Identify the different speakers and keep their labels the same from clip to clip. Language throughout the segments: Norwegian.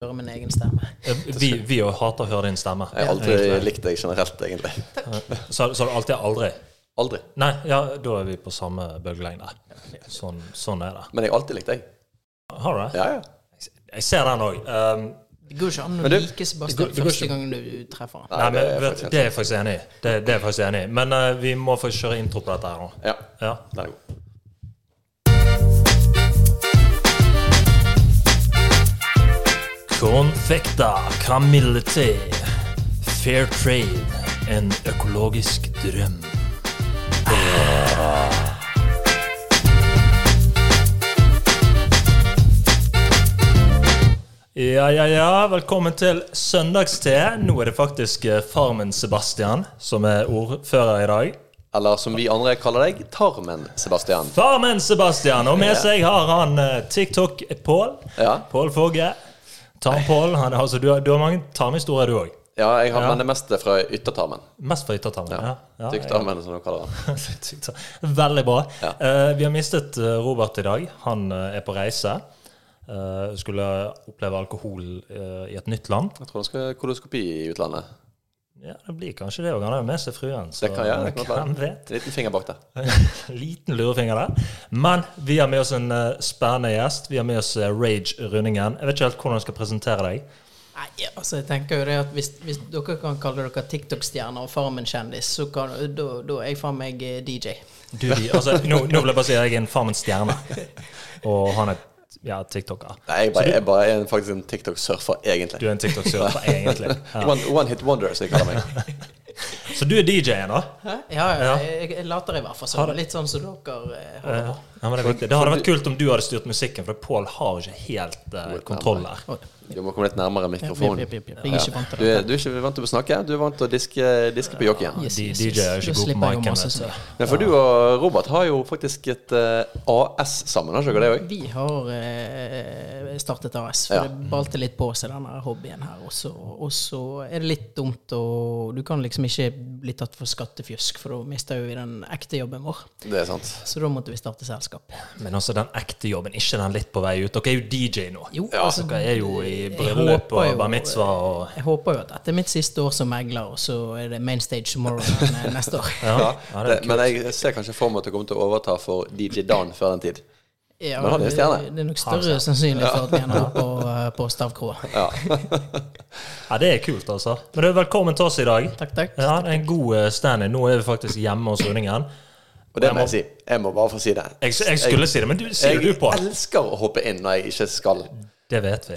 Speaker 1: høre min egen stemme.
Speaker 2: Eh, Vi, vi jo hater å høre din stemme.
Speaker 3: Jeg har aldri
Speaker 2: Egentlig.
Speaker 3: likt deg generelt, egentlig.
Speaker 2: Så, så har du alltid aldri.
Speaker 3: Aldri.
Speaker 2: Nei, ja, da er vi på samme bølgelengde. Sånn, sånn er det.
Speaker 3: Men jeg har alltid likt deg.
Speaker 2: Har du det?
Speaker 3: Ja, ja.
Speaker 2: Jeg ser den òg. Um,
Speaker 1: Det går ikke an å
Speaker 3: Men du,
Speaker 1: like
Speaker 2: det
Speaker 1: Sebastian
Speaker 2: går- det går
Speaker 1: første
Speaker 2: ikke-
Speaker 1: gang du treffer han.
Speaker 3: Nei,
Speaker 2: nei, men
Speaker 3: det er
Speaker 2: vet,
Speaker 3: faktisk helt
Speaker 2: det er jeg faktisk enig i. Det, det er jeg faktisk enig i. Men eh, vi må få kjøre intro på dette her nå.
Speaker 3: Ja,
Speaker 2: Ja.
Speaker 3: den er god.
Speaker 2: Konfekta, kamillete, fair trade, en økologisk drøm. Ja, ja, ja. Velkommen til søndagste. Nå er det faktisk eh, Farmen Sebastian som er ordfører i dag.
Speaker 3: Eller som vi andre kaller deg, Tarmen, Sebastian.
Speaker 2: Farmen Sebastian! Og med seg har han eh, TikTok-Pål.
Speaker 3: Ja.
Speaker 2: Pål Fogge. Tarm-Pål. han- Altså, du, har- du har mange tarmhistorier, du òg.
Speaker 3: Ja, jeg har men det meste fra yttertarmen.
Speaker 2: Mest fra yttertarmen. Ja. Ja,
Speaker 3: Tykktarmen, som de kaller den.
Speaker 2: Tykt. Veldig bra.
Speaker 3: Ja.
Speaker 2: Eh, vi har mistet eh, Robert i dag. Han eh, er på reise. Eh, skulle oppleve alkohol eh, i et nytt land.
Speaker 3: Jeg tror han skal ha koloskopi i utlandet.
Speaker 2: Ja, Det blir kanskje det òg. Han har jo med seg fruen. Så
Speaker 3: Det kan jeg. Det kan
Speaker 2: hvem
Speaker 3: være.
Speaker 2: vet?
Speaker 3: En liten finger bak der.
Speaker 2: Liten lurefinger der. Men vi har med oss en eh, spennende gjest. Vi har med oss eh, Rage Rundingen. Jeg vet ikke helt hvordan jeg skal presentere deg.
Speaker 1: Nei, ja, altså jeg tenker jo det at Hvis, hvis dere kan kalle dere TikTok-stjerner og faren min kjendis, så kan, da, da er jeg faen meg eh, DJ.
Speaker 2: Du, vi, altså, nå, nå vil jeg bare si at jeg er en farmens stjerne. Og han er ja, tiktoker.
Speaker 3: Nei, jeg bare, jeg bare er en- faktisk en TikTok-surfer, egentlig.
Speaker 2: Du er en tiktok-surfer, egentlig. Ja.
Speaker 3: One, one hit wonder, som jeg kaller meg.
Speaker 2: Så du er DJ-en, da?
Speaker 1: Hæ? Ja, ja,
Speaker 2: Ja.
Speaker 1: jeg, jeg later i hvert fall sånn. Litt sånn som dere eh, har.
Speaker 2: Ja, men det, er viktig. det hadde vært kult om du hadde styrt musikken, for Pål har ikke helt eh, kontroll der.
Speaker 1: Oi,
Speaker 3: Du må komme litt nærmere
Speaker 1: jep,
Speaker 3: mikrofonen.
Speaker 1: jep, jep, jep. Jeg er ikke vant
Speaker 3: Du
Speaker 1: til det.
Speaker 3: er, du er ikke vant til å snakke, du er vant til å diske, diske på jockeyen.
Speaker 1: Yes,
Speaker 2: De-
Speaker 1: yes,
Speaker 2: DJ
Speaker 1: yes.
Speaker 2: er ikke
Speaker 1: Da
Speaker 2: god på
Speaker 1: slipper jeg å
Speaker 2: mikken,
Speaker 1: mase
Speaker 2: vet du.
Speaker 1: så.
Speaker 3: Men for du og Robert har jo faktisk et eh, AS sammen, har ikke dere det òg?
Speaker 1: Vi har eh, startet AS, for
Speaker 3: Ja.
Speaker 1: det balte litt på seg, denne hobbyen her også. Og så er det litt dumt, og du kan liksom ikke bli tatt for skattefjusk, for da mister jo vi den ekte jobben vår.
Speaker 3: Det er sant.
Speaker 1: Så da måtte vi starte selskap.
Speaker 2: Men altså den ekte jobben, ikke den litt på vei ut. Dere er jo DJ nå.
Speaker 1: Jo,
Speaker 3: Ja,
Speaker 1: altså,
Speaker 2: Dere er jo i
Speaker 1: jeg
Speaker 2: bryllup
Speaker 1: håper
Speaker 2: og
Speaker 1: jo-
Speaker 2: bar mitzvah og
Speaker 1: Jeg håper jo at dette er mitt siste år som megler, og så er det Mainstage Tomorrow eh, neste år.
Speaker 2: Ja, ja, det
Speaker 3: Det,
Speaker 2: er
Speaker 3: men jeg ser kanskje for meg at du kommer til å overta for DJ Dan før den tid.
Speaker 1: Ja,
Speaker 3: Men han er
Speaker 1: det,
Speaker 3: stjerne.
Speaker 1: det er nok større sannsynlig for at vi ender opp på, eh, på stavkroa.
Speaker 2: kult. Ja, det er kult, altså. Men du, velkommen til oss i dag.
Speaker 1: Takk, takk.
Speaker 2: Ja, det er en god eh, stand-in. Nå er vi faktisk hjemme hos Rundingen.
Speaker 3: Og det må jeg si. Jeg må bare få si det.
Speaker 2: Jeg, jeg skulle si det, men du sier du
Speaker 3: Jeg
Speaker 2: på.
Speaker 3: elsker å hoppe inn når jeg ikke skal.
Speaker 2: Det vet vi.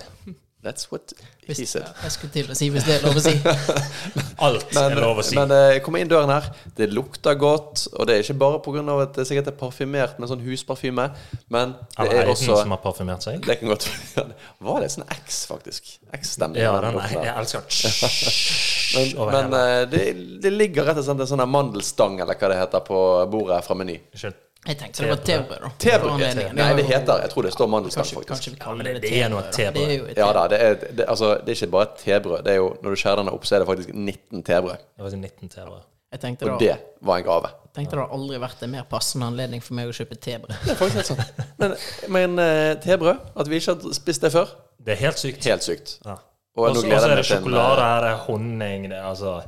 Speaker 3: That's what
Speaker 1: Hvis,
Speaker 3: he said.
Speaker 1: jeg skulle til å si hvis det er lov å si.
Speaker 2: Alt
Speaker 3: Men,
Speaker 2: er lov å si.
Speaker 3: men eh, jeg kommer inn døren her, det lukter godt. Og det er ikke bare pga. at det sikkert er parfymert med sånn husparfyme, men det
Speaker 2: Eller er
Speaker 3: er
Speaker 2: det
Speaker 3: også
Speaker 2: som har parfymert seg?
Speaker 3: Det kan godt være. Var det sånn X, faktisk? X-stemning.
Speaker 2: Ja,
Speaker 3: med den
Speaker 2: den er,
Speaker 3: lukten der.
Speaker 2: jeg elsker den.
Speaker 3: Men,
Speaker 2: Over hele.
Speaker 3: men eh, det, det ligger rett og slett en sånn her mandelstang, eller hva det heter, på bordet fra Meny.
Speaker 2: Ikke-
Speaker 1: Jeg tenkte det var tebrød, da.
Speaker 3: Tebrød?
Speaker 1: Det var anledningen.
Speaker 3: Nei, det
Speaker 1: var-
Speaker 3: heter Jeg tror det står mandelstang,
Speaker 1: Kanskje,
Speaker 3: faktisk.
Speaker 1: kanskje vi
Speaker 2: Ja, men
Speaker 1: kaller
Speaker 2: det-
Speaker 1: det,
Speaker 2: det er noe
Speaker 1: da.
Speaker 2: tebrød.
Speaker 1: Det er jo et
Speaker 3: Ja
Speaker 1: tebrød.
Speaker 3: da, det er, det, altså, det er ikke bare et tebrød. Det er jo, når du skjærer den opp, så er det faktisk 19 tebrød.
Speaker 2: Det var sånn 19 TV.
Speaker 1: Jeg tenkte
Speaker 3: Og
Speaker 1: da,
Speaker 3: det var en gave.
Speaker 1: tenkte det har aldri vært en mer passende anledning for meg å kjøpe tebrød.
Speaker 3: Det er faktisk helt sant. Men, men eh, tebrød, at vi ikke har spist det før,
Speaker 2: Det er helt sykt.
Speaker 3: helt sykt.
Speaker 2: Ja.
Speaker 3: Og
Speaker 2: Og
Speaker 3: nå
Speaker 2: så
Speaker 3: gleder jeg
Speaker 2: er det
Speaker 3: meg til en, eh,
Speaker 2: sjokolade her, det er honning det er altså.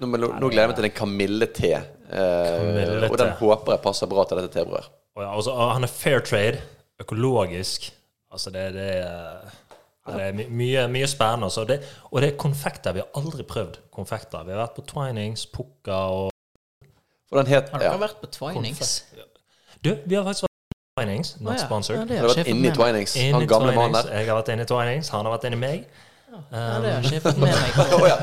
Speaker 3: Nå, men, nå gleder jeg meg til en kamillete.
Speaker 2: Kamillete.
Speaker 3: Eh, og den håper jeg passer bra til dette tebrødet.
Speaker 2: Og ja, og så- og han er fair trade, økologisk. Altså, det, det er ja, det er my- mye, mye spennende. Altså. Det, og det er konfekter. Vi har aldri prøvd konfekter. Vi har vært på Twinings, Pukka og
Speaker 3: For den het
Speaker 1: Har
Speaker 3: ja.
Speaker 1: dere vært på Twinings?
Speaker 2: Du, vi har faktisk vært på Twinings, not sponsored.
Speaker 1: Ja, det
Speaker 3: Den har
Speaker 1: har
Speaker 3: vært
Speaker 1: sjefen
Speaker 3: inni
Speaker 1: med meg.
Speaker 3: Twinings.
Speaker 2: Inn i
Speaker 3: Han gamle mannen
Speaker 2: Twinings.
Speaker 3: der.
Speaker 2: Jeg har vært inne i Twinings, han har vært inne i meg. Um,
Speaker 1: Ja, det har sjefen med meg.
Speaker 3: Å ja.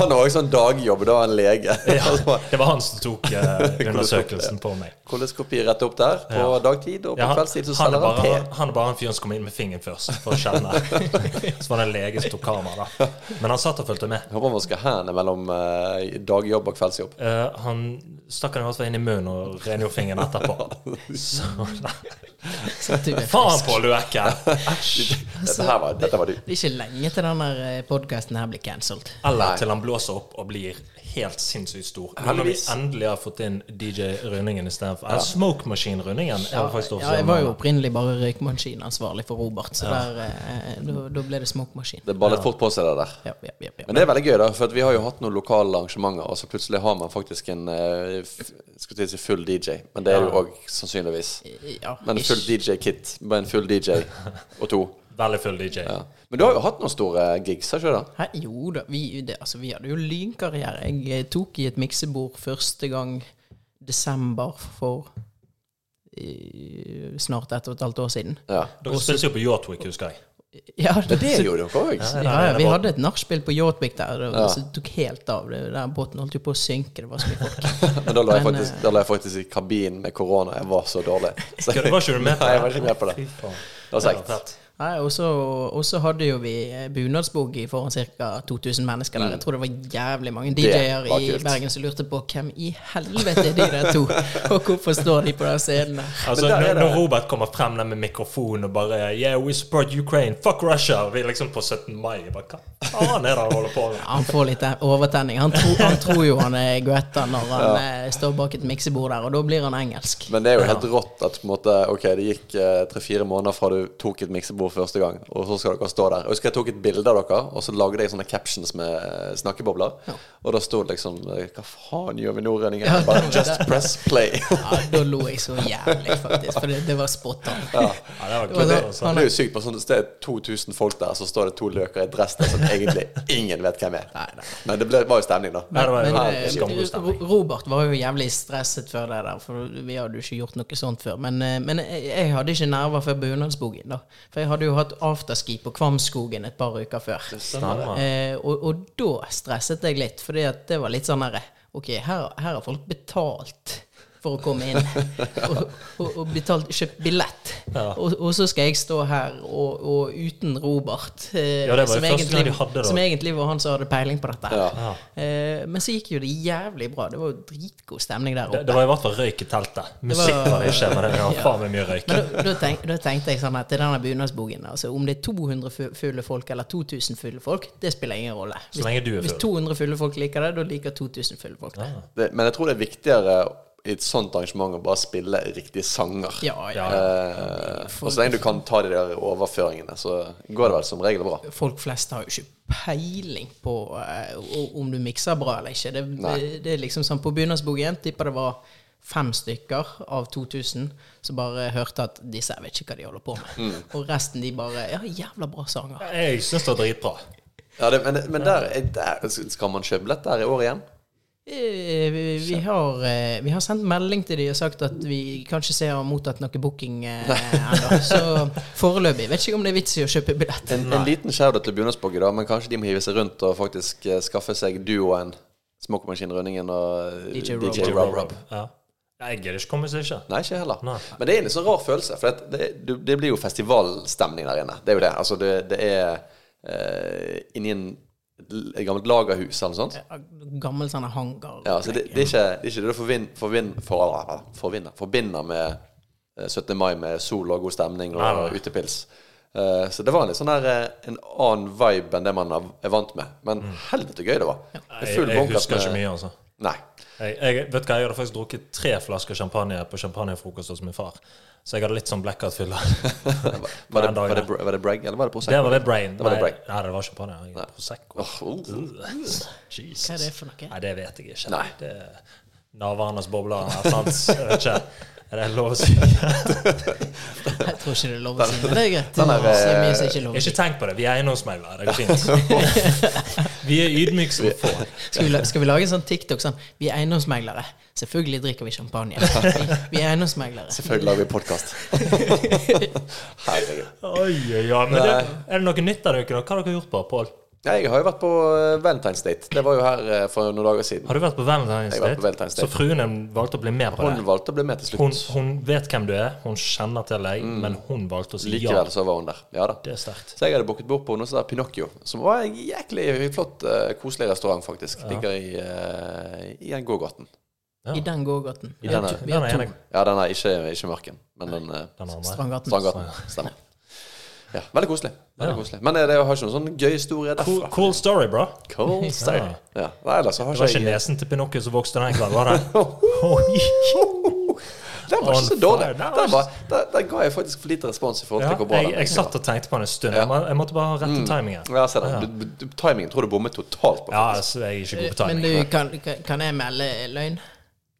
Speaker 3: Han har også en dagjobb, da er han lege.
Speaker 2: Ja, det var han som tok eh, undersøkelsen på meg.
Speaker 3: Koloskopi rett opp der på
Speaker 2: Ja.
Speaker 3: dagtid, og på
Speaker 2: Ja, han,
Speaker 3: kveldstid så
Speaker 2: han, er
Speaker 3: selger han te.
Speaker 2: bare, han er bare en fyr som kom inn med fingeren først, for å kjenne. Så var det en lege som tok kamera, da. Men han satt og fulgte med.
Speaker 3: Jeg Håper man skal ha henne mellom eh, dagjobb og kveldsjobb.
Speaker 2: Eh, han stakk han i hvert fall inn i munnen og rengjorde fingeren etterpå. Så, nei.
Speaker 1: Sånn at du er
Speaker 2: Faen,
Speaker 1: frisk.
Speaker 2: Pål, du er ekkel!
Speaker 3: Dette her var, dette var du.
Speaker 1: Det er ikke lenge til den podkasten her blir cancelled.
Speaker 2: Eller til han blåser opp og blir helt sinnssykt stor. Nå når vi
Speaker 3: Heldigvis.
Speaker 2: endelig har fått inn DJ Rønningen istedenfor ja. Smoke Machine-Rønningen. er det faktisk
Speaker 1: Ja,
Speaker 2: også
Speaker 1: jeg var jo
Speaker 2: en-
Speaker 1: opprinnelig bare røykmaskinansvarlig for Robert, så der, eh, da- da ble det smokemaskin.
Speaker 3: Det ballet fort på seg, det der.
Speaker 1: Ja, ja, ja, ja.
Speaker 3: Men det er veldig gøy, da, for at vi har jo hatt noen lokale arrangementer, og så plutselig har man faktisk en eh, f- skal til å si full DJ, men det er jo òg sannsynligvis.
Speaker 1: Ja,
Speaker 3: Men full
Speaker 1: ish.
Speaker 3: DJ-kit, bare en full DJ og to.
Speaker 2: Veldig full DJ.
Speaker 3: Ja. Men du har jo hatt noen store gigs, har ikke du det?
Speaker 1: Hæ? Jo da, vi, det, altså, vi hadde jo lynkarriere. Jeg eh, tok i et miksebord første gang desember for eh, snart ett og et halvt år siden.
Speaker 3: Ja.
Speaker 2: Dere spilte jo på Yachtwick, husker jeg.
Speaker 1: Ja, det,
Speaker 3: Det gjorde dere òg.
Speaker 1: ja, ja, vi hadde et nachspiel på Yachtwick der, og så tok helt av. Det, der båten holdt jo på å synke, det var så mye folk.
Speaker 3: Men da lå jeg
Speaker 1: Men, eh,
Speaker 3: faktisk, da lå jeg faktisk i kabinen med korona. Jeg var så dårlig. Så
Speaker 2: Var ikke du med på
Speaker 3: Nei,
Speaker 2: det?
Speaker 3: jeg var ikke med på det.
Speaker 2: Fy faen.
Speaker 3: Det var
Speaker 2: Det var
Speaker 3: seigt.
Speaker 2: fett.
Speaker 1: Nei, og så og så hadde jo vi eh, bunadsboogie foran ca. 2000 mennesker der. Jeg tror det var jævlig mange DJ-er
Speaker 3: var
Speaker 1: i
Speaker 3: kult.
Speaker 1: Bergen som lurte på hvem i helvete er de der to, og hvorfor står de på den scenen der?
Speaker 2: Altså,
Speaker 3: der
Speaker 2: når,
Speaker 3: er det-
Speaker 2: når Robert kommer frem der med mikrofon og bare Yeah, we support Ukraine, fuck Russia! Og vi er liksom på 17. mai. Jeg bare, Hva faen er det han holder på med?
Speaker 1: Ja, Han får litt eh, overtenning. Han, tro, han tror jo han er Greta når han eh, står bak et miksebord der, og da blir han engelsk.
Speaker 3: Men det er jo helt rått at på en måte, ok, det gikk eh, tre-fire måneder fra du tok et miksebord første gang, og så skal dere stå der. Jeg husker jeg tok et bilde av dere, og så lagde jeg sånne captions med eh, snakkebobler. Og da sto det liksom eh, Hva faen gjør vi nå, Rønningen? Jeg bare, Just press play.
Speaker 1: Ja, da lo jeg så jævlig, faktisk, for det, det var spot on.
Speaker 2: Ja, det var
Speaker 1: Men
Speaker 2: kult.
Speaker 1: det-
Speaker 2: altså.
Speaker 3: Det er jo sykt på sånn, det er 2000 folk der, så står det to løker i dress der som egentlig ingen vet hvem er.
Speaker 1: Nei, nei.
Speaker 3: Men det ble, var jo stemning, da.
Speaker 2: Nei, det var
Speaker 1: Men
Speaker 2: jo
Speaker 1: eh,
Speaker 2: helt skamløs stemning.
Speaker 1: Ro- Robert var jo jævlig stresset før det der, for vi hadde jo ikke gjort noe sånt før. Men, eh, men jeg, jeg hadde ikke nerver før Bunadsbogen, da. For jeg hadde jo hatt afterski på Kvamskogen et par uker før.
Speaker 2: Stemmer.
Speaker 1: Eh, og, og da stresset jeg litt, fordi at det var litt sånn herre Ok, her, her har folk betalt for å komme inn. og, og, og betalt, kjøpt billett.
Speaker 2: Ja.
Speaker 1: Og, og så skal jeg stå her og, og uten Robert, eh,
Speaker 2: Ja, det var jo
Speaker 1: som,
Speaker 2: første
Speaker 1: egentlig,
Speaker 2: gang de hadde det.
Speaker 1: som egentlig var han som hadde peiling på dette. her.
Speaker 3: Ja.
Speaker 1: Eh, men så gikk jo det jævlig bra. Det var jo dritgod stemning der
Speaker 2: Det,
Speaker 1: oppe.
Speaker 2: det var i hvert fall røyk i teltet. Musikk var det ikke, men det var faen meg mye røyk.
Speaker 1: Men da, da, tenk, da tenkte jeg sånn at til denne bunadsbogen altså Om det er 200 fu- fulle folk eller 2000 fulle folk, det spiller ingen rolle.
Speaker 2: Så lenge du er
Speaker 1: Hvis
Speaker 2: full. Ah.
Speaker 1: 200 fulle folk liker det, da liker 2000 fulle folk det.
Speaker 3: Det, men jeg tror det er viktigere i et sånt arrangement å bare spille riktige sanger.
Speaker 1: Ja, ja.
Speaker 2: Ja,
Speaker 3: Eh, og så lenge du kan ta de der overføringene, så går det vel som regel bra.
Speaker 1: Folk flest har jo ikke peiling på eh, o- om du mikser bra eller ikke. Det, det, det er liksom sånn På bunadsbogen tipper det var fem stykker av 2000 som bare hørte at disse jeg vet ikke hva de holder på med. Og resten de bare Ja, jævla bra sanger.
Speaker 2: Jeg syns det var dritbra.
Speaker 3: Ja, det, men, men der, er- der Skal man kjøpe billett der i år igjen?
Speaker 1: Eh, Vi, vi, har, eh, vi har sendt melding til de og sagt at vi kanskje ser og mottatt noe booking eh, ennå. Så foreløpig vet ikke om det er vits i å kjøpe billett.
Speaker 3: En, en liten shout til Bunadsboggy, da, men kanskje de må hive seg rundt og faktisk eh, skaffe seg duoen Smokemaskinrønningen og
Speaker 1: DJ
Speaker 3: DJ,
Speaker 1: Rob Rob.
Speaker 3: Rob Rob.
Speaker 2: Ja. Nei, Jeg gidder ikke komme hvis jeg ikke.
Speaker 3: Nei, ikke heller.
Speaker 2: Nei.
Speaker 3: Men det er en litt sånn rar følelse, for det, det, du- det blir jo festivalstemning der inne. Det er jo det. Altså, det, det er eh, inni en, et gammelt lagerhus eller noe sånt.
Speaker 1: Gammel sånn hangar.
Speaker 3: Ja, så det, det, er ikke, det er ikke det du forvin, forvin, for, forvinner, forbinder med eh, 17. mai med sol og god stemning og
Speaker 2: Nei, nei.
Speaker 3: utepils. Eh, så det var en litt sånn der, eh, en annen vibe enn det man er- er vant med. Men helvete gøy det var.
Speaker 2: Jeg, Mm. jeg husker ikke mye, altså.
Speaker 3: Nei.
Speaker 2: Jeg, jeg, vet du hva, jeg hadde faktisk drukket tre flasker champagne på champagnefrokost hos min far. Så jeg hadde litt sånn blackout-fyller.
Speaker 3: Var, var, det,
Speaker 2: Den dagen.
Speaker 3: var, det, br- var det bragg, eller var det prosecco?
Speaker 2: Det var det brain.
Speaker 3: Det var det
Speaker 2: Nei,
Speaker 3: brain.
Speaker 2: nei, det var champagne. Jeg- Prosecco.
Speaker 3: Åh, oh.
Speaker 2: Jesus.
Speaker 1: Hva er det for noe?
Speaker 2: Nei, det vet jeg ikke.
Speaker 3: Nei.
Speaker 2: Det er Navarnas bobler eller sant? Jeg vet ikke. Er det lov å si?
Speaker 1: Jeg tror ikke det er lov å si, men det er greit.
Speaker 3: Den er, eh,
Speaker 1: Det er så mye som ikke er lov å si.
Speaker 2: Ikke tenk på det. Vi er eiendomsmeglere. Det går fint. Vi er ydmyke som få.
Speaker 1: Skal vi, la- skal vi lage en sånn TikTok sånn Vi er eiendomsmeglere. Selvfølgelig drikker vi champagne. Vi, vi er eiendomsmeglere.
Speaker 3: Selvfølgelig lager vi podkast. Herregud.
Speaker 2: Oi, oi, oi. Men det, er det noe nytt denne uken? da? Hva har dere gjort på, Pål?
Speaker 3: Nei, Jeg har jo vært på eh, Valentine's Date. Det var jo her eh, for noen dager siden.
Speaker 2: Har du vært på Valentine's
Speaker 3: Jeg har vært på
Speaker 2: Date?
Speaker 3: Valentine's
Speaker 2: Så
Speaker 3: Date.
Speaker 2: fruen din valgte å bli med på
Speaker 3: Hun
Speaker 2: det?
Speaker 3: valgte å bli med til
Speaker 2: Hun,
Speaker 3: slutt.
Speaker 2: hun vet hvem du er, hun kjenner til deg, men hun valgte å si ja.
Speaker 3: Likevel så var hun der. Ja da.
Speaker 2: Det er sterkt.
Speaker 3: Så jeg hadde booket bord på noe som heter Pinocchio, som var en jæklig flott, eh, koselig restaurant, faktisk. Ligger i, eh, i en gågaten.
Speaker 1: I den gågaten.
Speaker 3: I den er-
Speaker 1: Vi har
Speaker 2: den
Speaker 1: to.
Speaker 2: ene-
Speaker 3: Ja, den er ikke, ikke Mørken, men den eh,
Speaker 2: den andre.
Speaker 1: Strandgaten.
Speaker 3: Strandgaten. Stemmer. Ja, veldig koselig. Veldig koselig. Men eh, det har ikke noen sånn gøy historie
Speaker 2: Cool,
Speaker 3: derfra.
Speaker 2: cool story, bro.
Speaker 3: Cool story.
Speaker 2: Ja.
Speaker 3: Ja. Nei, ellers så
Speaker 2: Det
Speaker 3: har
Speaker 2: var
Speaker 3: ikke
Speaker 2: ikke
Speaker 3: jeg
Speaker 2: nesen til Pinocchio som vokste den kvelden, var det? Oi.
Speaker 3: Den var ikke så
Speaker 2: On
Speaker 3: dårlig.
Speaker 2: fire. Nei,
Speaker 3: Den, var, den, den ga jeg faktisk for lite respons i forhold
Speaker 2: Ja,
Speaker 3: til hvor bra
Speaker 2: jeg,
Speaker 3: den
Speaker 2: jeg satt og tenkte på den en stund. Jeg, må, jeg måtte bare ha rett til timingen.
Speaker 3: Ja, jeg ser det. Du- du- Timingen tror du bommet totalt på.
Speaker 2: Ja, altså, jeg er ikke god på
Speaker 1: Eh, Men
Speaker 2: timing.
Speaker 1: du, kan, kan- kan jeg melde løgn?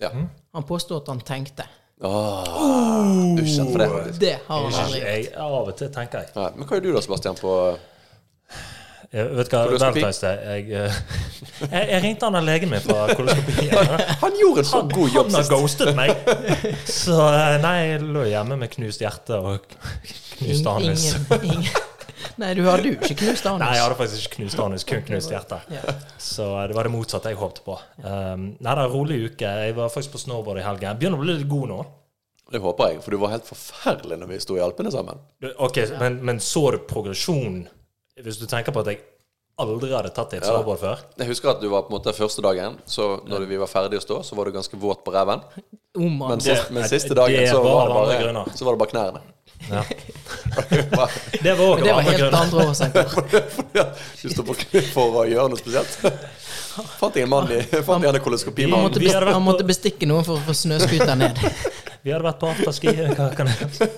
Speaker 3: Ja.
Speaker 2: Mhm.
Speaker 1: Han påstod at han tenkte.
Speaker 3: Åh, du kjenner for det. faktisk.
Speaker 1: Det har han
Speaker 2: Jeg,
Speaker 1: aldri gjort.
Speaker 2: jeg, av og til tenker jeg.
Speaker 3: Nei, men hva gjør du da, Sebastian, på
Speaker 2: jeg vet du hva,
Speaker 3: Koloskopi?
Speaker 2: Valentine's Day jeg, eh, jeg, jeg ringte han der legen min fra koloskopien.
Speaker 3: Han gjorde en så
Speaker 2: Han,
Speaker 3: god jobb
Speaker 2: han har
Speaker 3: sist.
Speaker 2: ghostet meg! Så eh, nei, jeg lå hjemme med knust hjerte og knust
Speaker 1: Ingen,
Speaker 2: anus.
Speaker 1: ingen. Nei, du hadde jo ikke knust
Speaker 2: Nei, jeg
Speaker 1: anus.
Speaker 2: hadde faktisk ikke knust anus, kun knust hjerte.
Speaker 1: Ja.
Speaker 2: Så eh, det var det motsatte jeg håpte på. Um, nei, det er en rolig uke. Jeg var faktisk på snowboard i helgen. Jeg begynner å bli litt god nå.
Speaker 3: Det håper jeg, for du var helt forferdelig når vi sto i Alpene sammen.
Speaker 2: Ok, men, men så du progresjonen? Hvis du tenker på at jeg aldri hadde tatt i et snowboard før.
Speaker 3: Jeg husker at du var på en måte første dagen, så når vi var ferdige å stå, så var du ganske våt på ræven.
Speaker 1: Om han
Speaker 3: Men, sist, men
Speaker 2: det-
Speaker 3: siste dagen
Speaker 2: det
Speaker 3: så
Speaker 2: var
Speaker 3: var,
Speaker 2: av andre
Speaker 3: det bare,
Speaker 2: grunner.
Speaker 3: så var det bare knærne.
Speaker 2: Ja.
Speaker 3: Bare-
Speaker 2: Det
Speaker 1: Men
Speaker 2: var òg
Speaker 1: det var
Speaker 2: andre
Speaker 1: helt
Speaker 2: grunner.
Speaker 1: andre årsaker.
Speaker 3: Fordi at du står på kne for å gjøre noe spesielt. Fant jeg en mann i Fant jeg en
Speaker 1: Han
Speaker 3: koloskopimann.
Speaker 1: måtte,
Speaker 2: Vi hadde
Speaker 1: best,
Speaker 2: vært
Speaker 1: han
Speaker 2: på-
Speaker 1: måtte bestikke noen for å få snøskuta ned.
Speaker 2: Vi hadde vært på afterski. Hva kan jeg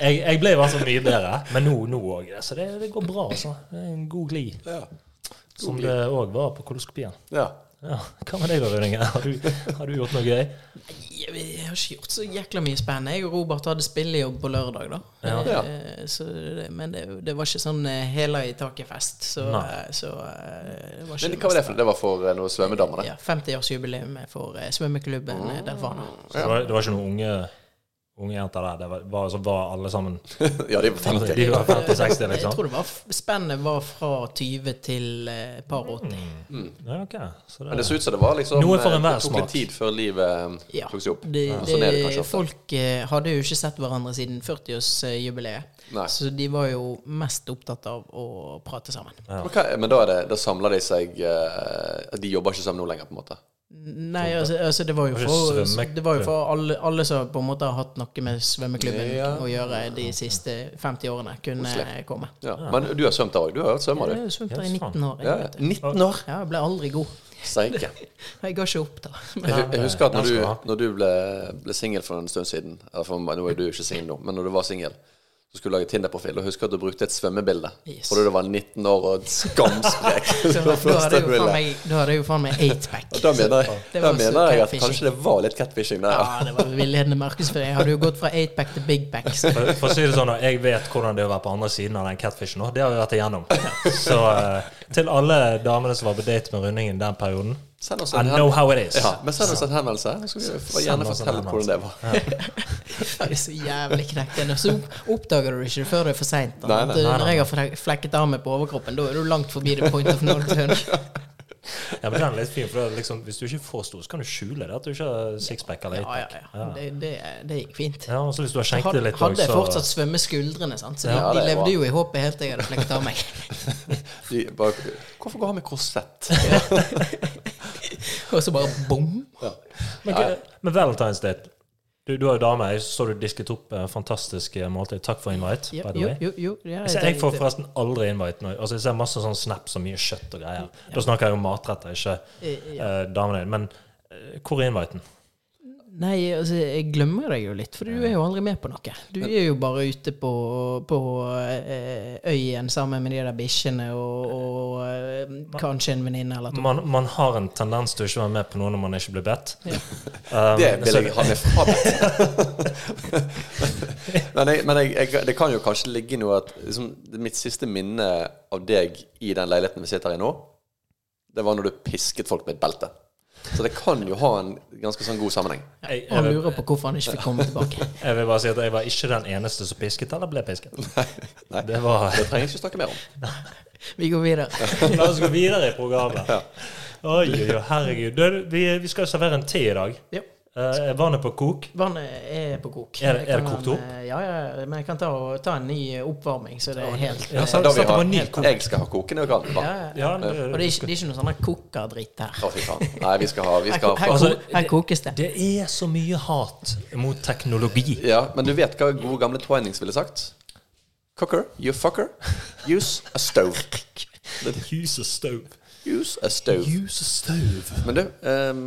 Speaker 2: Jeg, jeg ble i hvert fall mye bedre, men nå nå òg. Så det, det går bra, altså. Det er en god glid.
Speaker 3: Ja.
Speaker 2: Som det òg var på koloskopien.
Speaker 3: ja.
Speaker 2: Ja, Hva med deg da, Rødinge? Har, du- har du gjort noe gøy?
Speaker 1: Jeg jeg har ikke gjort så jækla mye spennende. Jeg og Robert hadde spillejobb på lørdag, da.
Speaker 3: Ja.
Speaker 1: Eh, Så, det- men det, det var ikke sånn eh, hæla i taket-fest. Så,
Speaker 2: Nei.
Speaker 1: eh, så eh, det var ikke
Speaker 3: Men
Speaker 1: det
Speaker 3: hva
Speaker 1: meste.
Speaker 3: var det for noe? Det var for eh, noe svømmedammer, det.
Speaker 1: Ja, 50-årsjubileum for eh, svømmeklubben eh, der var det.
Speaker 2: Så det, var, det var ikke noen unge, unge jenter der? Det var, var, så var alle sammen
Speaker 3: Ja, de var 50.
Speaker 2: De var 50-60,
Speaker 1: Jeg
Speaker 2: liksom?
Speaker 1: tror det var f- spennet var fra 20 til eh, par 80. Mm.
Speaker 2: Ja, ok. Så
Speaker 3: Men det
Speaker 2: det,
Speaker 3: så ut som det var liksom
Speaker 2: Noe for
Speaker 3: eh,
Speaker 2: enhver
Speaker 3: Det tok litt
Speaker 2: smak.
Speaker 3: tid før livet eh,
Speaker 1: Ja.
Speaker 3: tok seg opp.
Speaker 1: Det,
Speaker 3: Og
Speaker 1: det,
Speaker 3: Sånn er det kanskje ofte.
Speaker 1: folk eh, hadde jo ikke sett hverandre siden 40-årsjubileet,
Speaker 3: Nei.
Speaker 1: så de var jo mest opptatt av å prate sammen.
Speaker 3: Men hva- Men da, er det, da samler de seg eh, De jobber ikke sammen nå lenger, på en måte?
Speaker 1: Nei,
Speaker 3: Sånn,
Speaker 1: altså, altså det var jo
Speaker 2: Var det
Speaker 1: for,
Speaker 2: svømmeklubb?
Speaker 1: det var jo for alle, alle som på en måte har hatt noe med svømmeklubben
Speaker 3: Ja.
Speaker 1: å gjøre de siste 50 årene, kunne komme.
Speaker 3: Ja. Men du har svømt der òg? Du har vært svømmer,
Speaker 1: Jeg har
Speaker 3: du?
Speaker 1: jo svømt der i
Speaker 2: Ja, faen.
Speaker 1: 19 år.
Speaker 3: Ja,
Speaker 1: Jeg,
Speaker 3: ja.
Speaker 1: vet du.
Speaker 3: 19 år!
Speaker 1: ja, jeg ble aldri god.
Speaker 3: Steike.
Speaker 1: Jeg ga ikke opp, da. Men, altså,
Speaker 3: Jeg, hu- jeg husker at når
Speaker 2: Den skal
Speaker 3: du,
Speaker 2: du ha.
Speaker 3: når du ble, ble singel for en stund siden eller for, Nå er du jo ikke singel nå, men når du var singel så skulle du lage Tinder-profil, og husker at du brukte et svømmebilde.
Speaker 1: Yes.
Speaker 3: Fordi du var 19 år og skamsprek.
Speaker 1: så,
Speaker 3: Det var
Speaker 1: da hadde
Speaker 3: første
Speaker 1: jeg jo
Speaker 3: bildet.
Speaker 1: faen meg- da hadde jeg jo faen meg eightpack.
Speaker 3: Og da mener jeg,
Speaker 1: Det
Speaker 3: da
Speaker 1: var så
Speaker 3: mener jeg at
Speaker 1: catfishing.
Speaker 3: kanskje det var litt catfishing der.
Speaker 1: Ja,
Speaker 3: ja.
Speaker 1: det var villedende markedsføring. Jeg hadde jo gått fra eightpack til bigpack. Så
Speaker 2: for, for å si det sånn, og jeg vet hvordan det er å være på andre siden av den catfishen nå. Det har vi vært igjennom. Så eh, til alle damene som var på date med rundingen den perioden
Speaker 3: Send oss
Speaker 2: I
Speaker 3: en
Speaker 2: know
Speaker 3: henvendelse.
Speaker 2: how it is.
Speaker 3: Ja, men send oss en henvendelse. Så skal vi få-
Speaker 2: Send
Speaker 3: gjerne
Speaker 2: oss en
Speaker 3: fortelle hvordan det var.
Speaker 1: det er så jævlig knekt. Og så oppdager du det ikke før det er for seint.
Speaker 3: Nei, nei,
Speaker 2: nei,
Speaker 1: eh, Når jeg har flek- flekket av meg på overkroppen, da er du langt forbi the point of no return.
Speaker 2: Ja, men den er litt fin, for det er liksom, Hvis du ikke er for stor, så kan du skjule det at du ikke har sixpack eller
Speaker 1: Ja, ja,
Speaker 2: eightpack.
Speaker 1: ja. Det, det, det gikk fint.
Speaker 2: Ja, og så hvis du har skjenket
Speaker 1: Hadde,
Speaker 2: det litt
Speaker 1: hadde jeg
Speaker 2: også,
Speaker 1: fortsatt svømme skuldrene, sant? så de,
Speaker 3: Ja, det
Speaker 1: de
Speaker 3: er bra.
Speaker 1: levde jo i håpet helt til jeg hadde flekket av meg.
Speaker 3: De bare, Hvorfor går han med korsett?
Speaker 1: Og så bare bom!
Speaker 2: Men, men Valentine's Day du, du har jo dame. Jeg så du disket opp eh, fantastiske måltid. Takk for invite,
Speaker 1: Jo,
Speaker 2: by the
Speaker 1: jo,
Speaker 2: way.
Speaker 1: jo, jo, ja,
Speaker 2: Jeg, ser, jeg får forresten aldri invite når, altså Jeg ser masse sånn snaps og mye kjøtt og greier. Da snakker jeg om matretter, ikke
Speaker 1: Eh, ja.
Speaker 2: eh, damene dine. Men eh, hvor er inviten?
Speaker 1: Nei, altså, jeg glemmer deg jo litt, for du er jo aldri med på noe. Du er jo bare ute på, på eh, øyen sammen med de der bikkjene og, og eh, kanskje en venninne eller to.
Speaker 2: Man, man har en tendens til å ikke være med på noe når man ikke blir bedt. Um,
Speaker 3: Det vil
Speaker 2: så-
Speaker 3: jeg ha med fra meg. men jeg, men jeg, jeg, det kan jo kanskje ligge i noe at liksom, mitt siste minne av deg i den leiligheten vi sitter i nå, det var når du pisket folk med et belte. Så det kan jo ha en ganske sånn god sammenheng.
Speaker 2: jeg,
Speaker 1: Og han
Speaker 2: jeg,
Speaker 1: lurer på hvorfor han ikke fikk komme tilbake.
Speaker 2: jeg vil bare si at jeg var ikke den eneste som pisket eller ble pisket.
Speaker 3: Nei.
Speaker 2: Det var
Speaker 3: Det trenger jeg ikke snakke mer om.
Speaker 1: Vi går videre.
Speaker 2: La oss gå videre i programmet. Oi, oi, oi, herregud. Du, vi, vi skal jo servere en te i dag.
Speaker 1: Ja.
Speaker 2: Eh, Eh, Er vannet på kok?
Speaker 1: Vannet er på kok.
Speaker 2: Er- er det
Speaker 1: Jeg kan
Speaker 2: kokt
Speaker 1: ha en,
Speaker 2: opp?
Speaker 1: eh, Ja, ja, men jeg kan ta, og, ta en ny eh, oppvarming, så det er helt
Speaker 2: Ja,
Speaker 1: eh,
Speaker 2: sant.
Speaker 3: Da vi
Speaker 2: Sette på
Speaker 3: har,
Speaker 2: en ny kok.
Speaker 3: jeg skal ha kokende og kaldt vann.
Speaker 1: ja, ja.
Speaker 2: Ja, det,
Speaker 1: Og det er ikke, det er ikke noe sånn kokerdritt her.
Speaker 3: Å, fy faen. Nei, vi skal ha, vi
Speaker 1: Her,
Speaker 3: skal
Speaker 1: her,
Speaker 3: ha
Speaker 2: Altså,
Speaker 1: ko- her kokes det.
Speaker 2: det er så mye hat mot teknologi.
Speaker 3: Ja, Men du vet hva gode gamle Twinings ville sagt? Cocker, you fucker. Use a stove.
Speaker 2: Use a stove.
Speaker 3: Use a stove.
Speaker 2: Use a stove.
Speaker 3: Men du, ehm,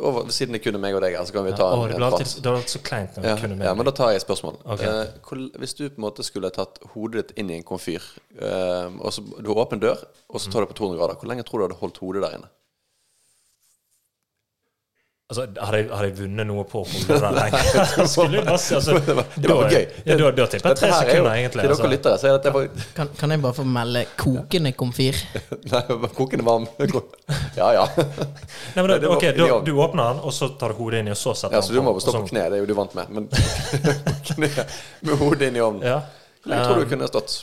Speaker 3: over, siden det kun er meg og deg her, så kan vi ta
Speaker 2: Å,
Speaker 3: en
Speaker 2: det
Speaker 3: en
Speaker 2: ble
Speaker 3: prat.
Speaker 2: alltid det ble alltid så kleint når vi
Speaker 3: Ja,
Speaker 2: kunne
Speaker 3: ja,
Speaker 2: med.
Speaker 3: men da tar jeg et spørsmål.
Speaker 2: Ok.
Speaker 3: Eh, hvor- hvis du på en måte skulle tatt hodet ditt inn i en komfyr eh, og så, Du har åpen dør, og så tar du på 200 grader. Hvor lenge tror du du hadde holdt hodet der inne?
Speaker 2: Altså, hadde, jeg, hadde jeg vunnet noe på å holde den lenge? Skulle jeg bare si, altså,
Speaker 3: Det var- det
Speaker 2: da-
Speaker 3: var gøy.
Speaker 2: Ja, da, da tipper jeg
Speaker 3: Dette
Speaker 2: tre
Speaker 3: her er jo-
Speaker 2: sekunder, egentlig.
Speaker 3: Til dere
Speaker 2: Altså.
Speaker 3: lyttere så er dette bare,
Speaker 1: Kan, kan jeg bare få melde kokende komfyr?
Speaker 3: Nei, bare kokende varm. Ja, ja.
Speaker 2: Nei, men da,
Speaker 3: det var-
Speaker 2: ok, da,
Speaker 3: ja.
Speaker 2: du åpner den, og så tar du hodet inn i, og så setter
Speaker 3: ja så du må
Speaker 2: på, sånn- og
Speaker 3: bare stå på
Speaker 2: så-
Speaker 3: kne. Det er jo du vant med. Men på kne, med hodet inn i ovnen.
Speaker 2: Ja. Um,
Speaker 3: Hvor lenge tror du du kunne stått?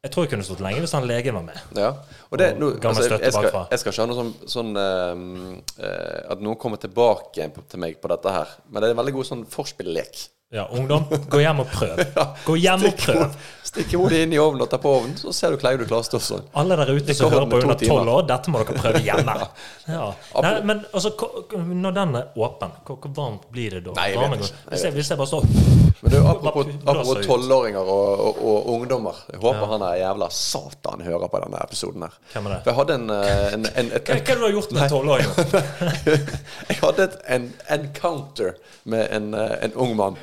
Speaker 2: Jeg tror jeg kunne stått lenge hvis han legen var med.
Speaker 3: Ja. Og det, nå,
Speaker 2: gammel
Speaker 3: altså, jeg,
Speaker 2: støtte
Speaker 3: jeg, skal,
Speaker 2: bakfra.
Speaker 3: jeg skal ikke ha noe sånn, sånn eh, eh, At noen kommer tilbake igjen på- til meg på dette her. Men det er en veldig god sånn forspilllek.
Speaker 2: Ja, ungdom, gå hjem og prøv. Gå hjem og
Speaker 3: Stikk
Speaker 2: prøv.
Speaker 3: hodet- Stikk hodet inn i ovnen og ta på ovnen, så ser du klarer du klarer å stå sånn.
Speaker 2: Alle der ute som
Speaker 3: går
Speaker 2: hører
Speaker 3: om
Speaker 2: på
Speaker 3: to
Speaker 2: under
Speaker 3: timer.
Speaker 2: tolv år, dette må dere prøve hjemme. Ja. Nei, men altså, hvor- når den er åpen, hvor, hvor varmt blir det da?
Speaker 3: Nei, jeg vet
Speaker 2: Varmen
Speaker 3: ikke.
Speaker 2: går-
Speaker 3: Jeg
Speaker 2: Hvis jeg, hvis jeg bare står
Speaker 3: Men du, apropos,
Speaker 2: Bare blåser
Speaker 3: apropos
Speaker 2: ut.
Speaker 3: tolvåringer og, og, og ungdommer. Jeg håper han der jævla satan hører på denne episoden her.
Speaker 2: Hvem er det?
Speaker 3: For jeg hadde en, eh, en, en et,
Speaker 2: Hva hva har du gjort med tolvåringen?
Speaker 3: Jeg hadde et, en encounter med en, eh, en ung mann.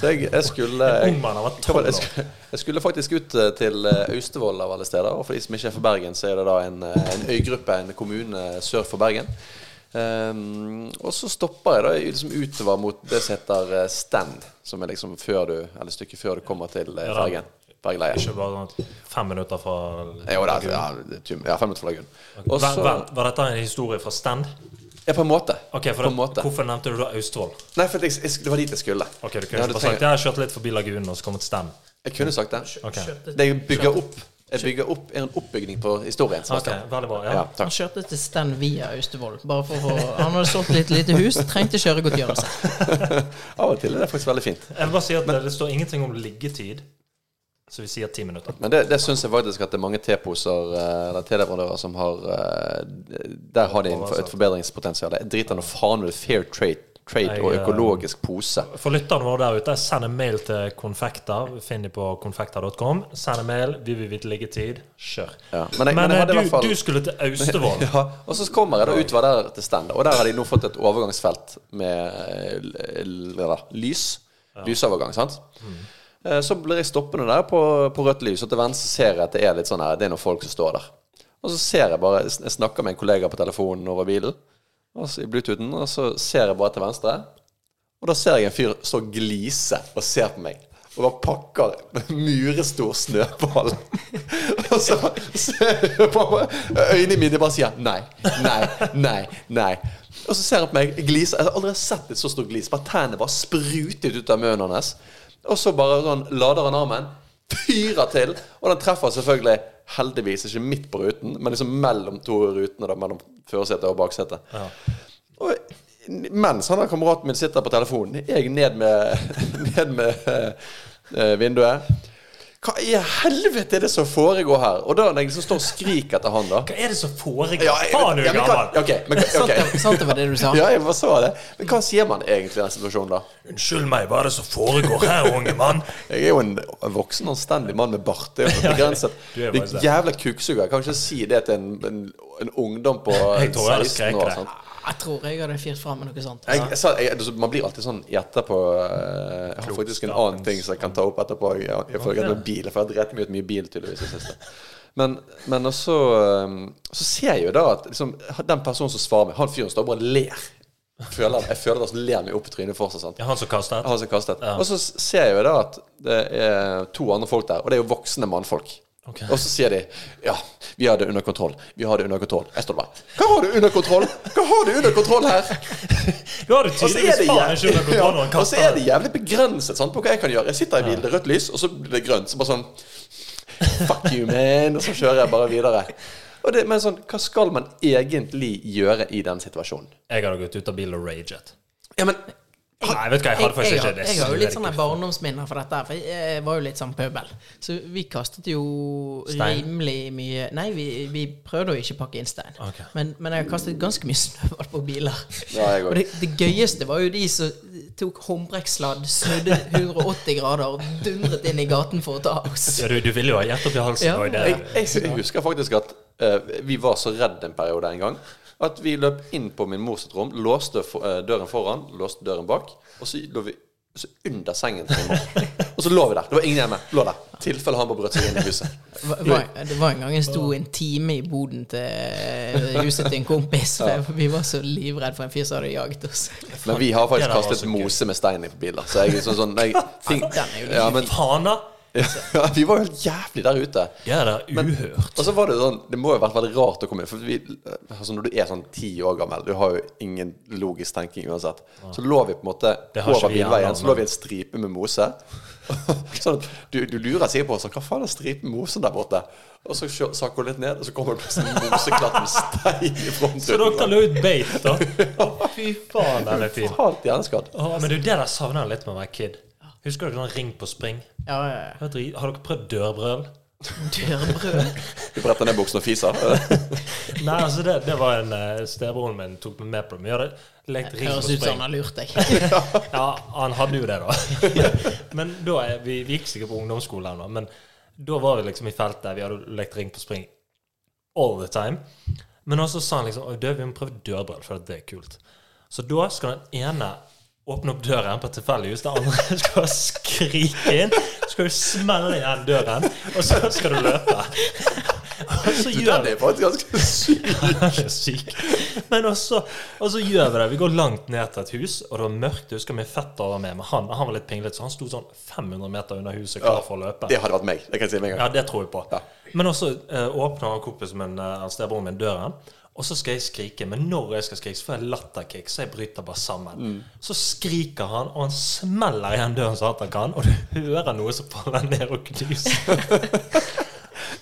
Speaker 3: Så jeg, jeg skulle
Speaker 2: En ung mann, han var
Speaker 3: Hva var
Speaker 2: 12 år.
Speaker 3: det? jeg, skulle, jeg skulle faktisk ut eh, til eh, Austevoll av alle steder. Og for de som ikke er fra Bergen, så er det da en, eh, en øygruppe, en kommune eh, sør for Bergen. Ehm, og så stopper jeg da liksom utover mot det som heter eh, Stand, som er liksom før du, eller stykket før du kommer til eh,
Speaker 2: Ja da.
Speaker 3: Bergen. Bergleie.
Speaker 2: Ikke bare sånn fem minutter fra
Speaker 3: Jo da, ja, ja, fem minutter fra Lagun. Og
Speaker 2: Vent,
Speaker 3: så
Speaker 2: vent, Var dette en historie fra Stand?
Speaker 3: Ja, på en måte.
Speaker 2: Ok, for
Speaker 3: på
Speaker 2: det,
Speaker 3: en måte.
Speaker 2: Hvorfor nevnte du da Austevoll?
Speaker 3: Nei, for jeg, jeg, det var dit jeg skulle.
Speaker 2: Ok, du kunne
Speaker 3: Ja, du
Speaker 2: ikke bare
Speaker 3: trenger-
Speaker 2: sagt Jeg har kjørt litt forbi Lagunen og så kommet til Stand.
Speaker 3: Jeg kunne sagt det.
Speaker 2: Ok,
Speaker 1: Kjørte,
Speaker 3: Det jeg bygger opp Jeg bygger opp en oppbygning på historien. som jeg
Speaker 2: Ok,
Speaker 3: skal.
Speaker 2: Veldig bra.
Speaker 3: Ja,
Speaker 2: Ja.
Speaker 1: han
Speaker 3: takk.
Speaker 1: kjørte til Stand via Austevoll. Bare for å, han hadde solgt litt lite hus, trengte kjøregodtgjørelse.
Speaker 3: Av og til er det faktisk veldig fint.
Speaker 2: Jeg vil bare si at det- det står ingenting om liggetid, så vi sier ti minutter.
Speaker 3: Men det, det syns jeg faktisk at det er mange teposer eh, eller televerandører som har eh, Der har de en, et forbedringspotensial. Jeg driter nå faen i fair trade, trade og
Speaker 2: Jeg, eh,
Speaker 3: økologisk pose.
Speaker 2: For lytterne våre der ute, send en mail til Konfekta. Finn dem på konfekta.com. Send en mail. Vi vil vite liggetid. Kjør.
Speaker 3: Ja, men
Speaker 2: Men,
Speaker 3: jeg- men jeg
Speaker 2: eh,
Speaker 3: hadde i
Speaker 2: du,
Speaker 3: hvert fall-
Speaker 2: du skulle til Austevoll.
Speaker 3: Ja, og så kommer jeg da utover der til stand, og der har de nå fått et overgangsfelt med eh, l- l- lys. Lysovergang, sant? Eh, Så blir jeg stoppende der på, på rødt lys, og til venstre ser jeg at det er litt sånn her, det er noen folk som står der. Og så ser jeg bare, jeg snakker med en kollega på telefonen over bilen, og så, i Bluetoothen, og så ser jeg bare til venstre, og da ser jeg en fyr stå og glise og ser på meg. Og bare pakker murestor snøball. og så ser jeg på meg, øynene mine bare sier nei, nei, nei, nei. Og så ser han på meg glise. Jeg har aldri sett et så stort glis. Bare tennene bare sprutet ut av munnen hans. Og så bare sånn lader han armen, fyrer til, og den treffer selvfølgelig heldigvis ikke midt på ruten, men liksom mellom to rutene, da, mellom førersetet og baksetet. Og mens han der kameraten min sitter på telefonen, er jeg ned med, ned med eh, vinduet. Hva i helvete er det som foregår her? Og da når jeg liksom står og skriker etter han, da
Speaker 2: Hva er det som foregår?
Speaker 3: Ja, jeg-
Speaker 2: Faen, du
Speaker 3: ja,
Speaker 2: er
Speaker 3: men hva-
Speaker 2: gammel!
Speaker 3: ok, men hva- ok.
Speaker 1: Sant det- Sant det var det du sa?
Speaker 3: Ja, jeg bare så det. Men hva sier man egentlig i den situasjonen, da?
Speaker 2: Unnskyld meg, hva er det som foregår her, unge mann?
Speaker 3: Jeg er jo en voksen, anstendig mann med bart. Det er jo begrenset.
Speaker 2: Du er
Speaker 3: Det
Speaker 2: faktisk det.
Speaker 3: jævla kuksuger. Jeg kan ikke si det til en, en, en ungdom på
Speaker 2: Jeg tror jeg hadde
Speaker 3: 16
Speaker 2: skreket
Speaker 3: år.
Speaker 2: det.
Speaker 3: Sant?
Speaker 1: Jeg tror jeg hadde fyrt fram med noe sånt.
Speaker 3: jeg, jeg, sa- jeg, altså, man blir alltid sånn i etterpå eh, Jeg har faktisk en annen ting som jeg kan ta opp etterpå. Jeg, jeg, jeg, jeg, bil, for jeg har drept meg ut mye bil, tydeligvis. i det siste. Men, men også eh, Så ser jeg jo da at liksom, den personen som svarer meg, han fyren står bare og ler. Føler, jeg føler at han ler meg opp i trynet for seg. sant?
Speaker 2: Ja, han som kastet?
Speaker 3: Han som er kastet. Og så ser jeg jo da at det er to andre folk der, og det er jo voksne mannfolk.
Speaker 2: Ok.
Speaker 3: Og så sier de ja, vi har det under kontroll. Vi har det under kontroll. Jeg står bare Hva har du under kontroll? Hva har du under kontroll her?
Speaker 2: Du hadde
Speaker 3: Og så er
Speaker 2: tydeligvis
Speaker 3: det
Speaker 2: faen ikke under
Speaker 3: jævlig,
Speaker 2: kontroll når han
Speaker 3: ja, og så er
Speaker 2: kastet.
Speaker 3: det jævlig begrenset sant, på hva jeg kan gjøre. Jeg sitter i bilen, det er rødt lys, og så blir det grønt. Så bare sånn Fuck you, man. Og så kjører jeg bare videre. Og det, men sånn, hva skal man egentlig gjøre i den situasjonen?
Speaker 2: Jeg hadde gått ut av bilen og raget.
Speaker 3: Ja, men
Speaker 2: Nei, vet du hva, jeg hadde faktisk ikke
Speaker 1: jeg,
Speaker 2: det.
Speaker 1: jeg har jo
Speaker 3: sånn
Speaker 1: litt sånne
Speaker 2: sverger.
Speaker 1: barndomsminner fra dette. her, For jeg, jeg var jo litt sånn pøbel. Så vi kastet jo
Speaker 2: Stein?
Speaker 1: rimelig mye Nei, vi, vi prøvde å ikke pakke inn stein.
Speaker 2: Ok.
Speaker 1: Men, men jeg har kastet ganske mye snøball på biler.
Speaker 3: Ja, jeg
Speaker 1: og det, det gøyeste var jo de som tok håndbreksladd, snudde 180 grader og dundret inn i gaten for å ta oss.
Speaker 2: Ja, du, du ville jo ha hjertet opp i halsen.
Speaker 1: Ja.
Speaker 2: og det-
Speaker 3: jeg, jeg, jeg husker faktisk at eh, vi var så redd en periode en gang at vi løp inn på min mors sitt rom, låste for, eh, døren foran, låste døren bak, og så lå vi så under sengen til min mor. Og så lå vi der. Det var ingen hjemme. Lå der. tilfelle han bare brøt seg inn i huset.
Speaker 1: Det var, det var en gang jeg sto en time i boden til huset til en kompis. For vi var så livredde for en fyr som hadde jaget oss.
Speaker 3: Men vi har
Speaker 2: Det
Speaker 3: faktisk
Speaker 2: der var
Speaker 3: kastet
Speaker 2: så gøy.
Speaker 3: mose med stein i biler. Så jeg er sånn sånn jeg, ting, ja, men,
Speaker 2: Faen, da!
Speaker 3: ja, Vi var jo helt jævlig der ute.
Speaker 2: Ja, det er uhørt.
Speaker 3: Og så var det sånn Det må jo ha vært veldig rart å komme inn. For vi, altså når du er sånn ti år gammel, du har jo ingen logisk tenking uansett. Så lå vi på en måte
Speaker 2: Det har ikke
Speaker 3: over
Speaker 2: vi hjemme,
Speaker 3: bilveien, så lå
Speaker 2: men-
Speaker 3: vi i en stripe med mose. sånn at du, du lurer sikkert på sånn, hva faen er stripen med mosen der borte? Og så kjø- sakker hun litt ned, og så kommer det plutselig en sånn moseklatt med stein i
Speaker 2: Så dere
Speaker 3: fronten.
Speaker 2: lå ut beit, da? Fy faen, den er fin.
Speaker 3: Totalt hjerneskadd.
Speaker 2: Å, men du, det der savner jeg litt med å være kid. Husker dere sånn ring på spring?
Speaker 1: Ja, ja, ja.
Speaker 2: Det var drit- Har dere prøvd dørbrøl?
Speaker 1: Dørbrød.
Speaker 3: Du bretter ned buksen og fiser.
Speaker 2: Nei, altså det, det var en uh, Stebroren min tok meg med på det. Vi hadde lekt ring på
Speaker 1: Høres ut som han
Speaker 2: spring.
Speaker 1: har lurt deg.
Speaker 2: Ja, han hadde jo det, da. men da er, vi, vi gikk sikkert på ungdomsskolen ennå, men da var vi liksom i feltet. Vi hadde lekt ring på spring all the time. Men også sa han liksom «Oi, du, vi må prøve dørbrøl, for det er kult. Så da skal den ene åpne opp døren på et tilfeldig hus, den andre skal skrike inn, så skal du smelle igjen døren, og så skal du løpe. Og så gjør
Speaker 3: Den er faktisk ganske syk.
Speaker 2: han er syk. Men også, og så gjør vi det. Vi går langt ned til et hus, og det var mørkt. Jeg husker min fetter var med, men han, han var litt pinglete, så han sto sånn 500 meter under huset klar for å løpe.
Speaker 3: Det hadde vært meg. Det kan jeg si med en gang.
Speaker 2: Ja, det tror jeg på. Men også eh, åpner han kompisen min, eh, altså stebroren min, døren. Og så skal jeg skrike, men når jeg skal skrike, så får jeg latterkick, så jeg bryter bare sammen. Så skriker han, og han smeller igjen døren så hardt han kan, og du hører noe som faller ned og knuser.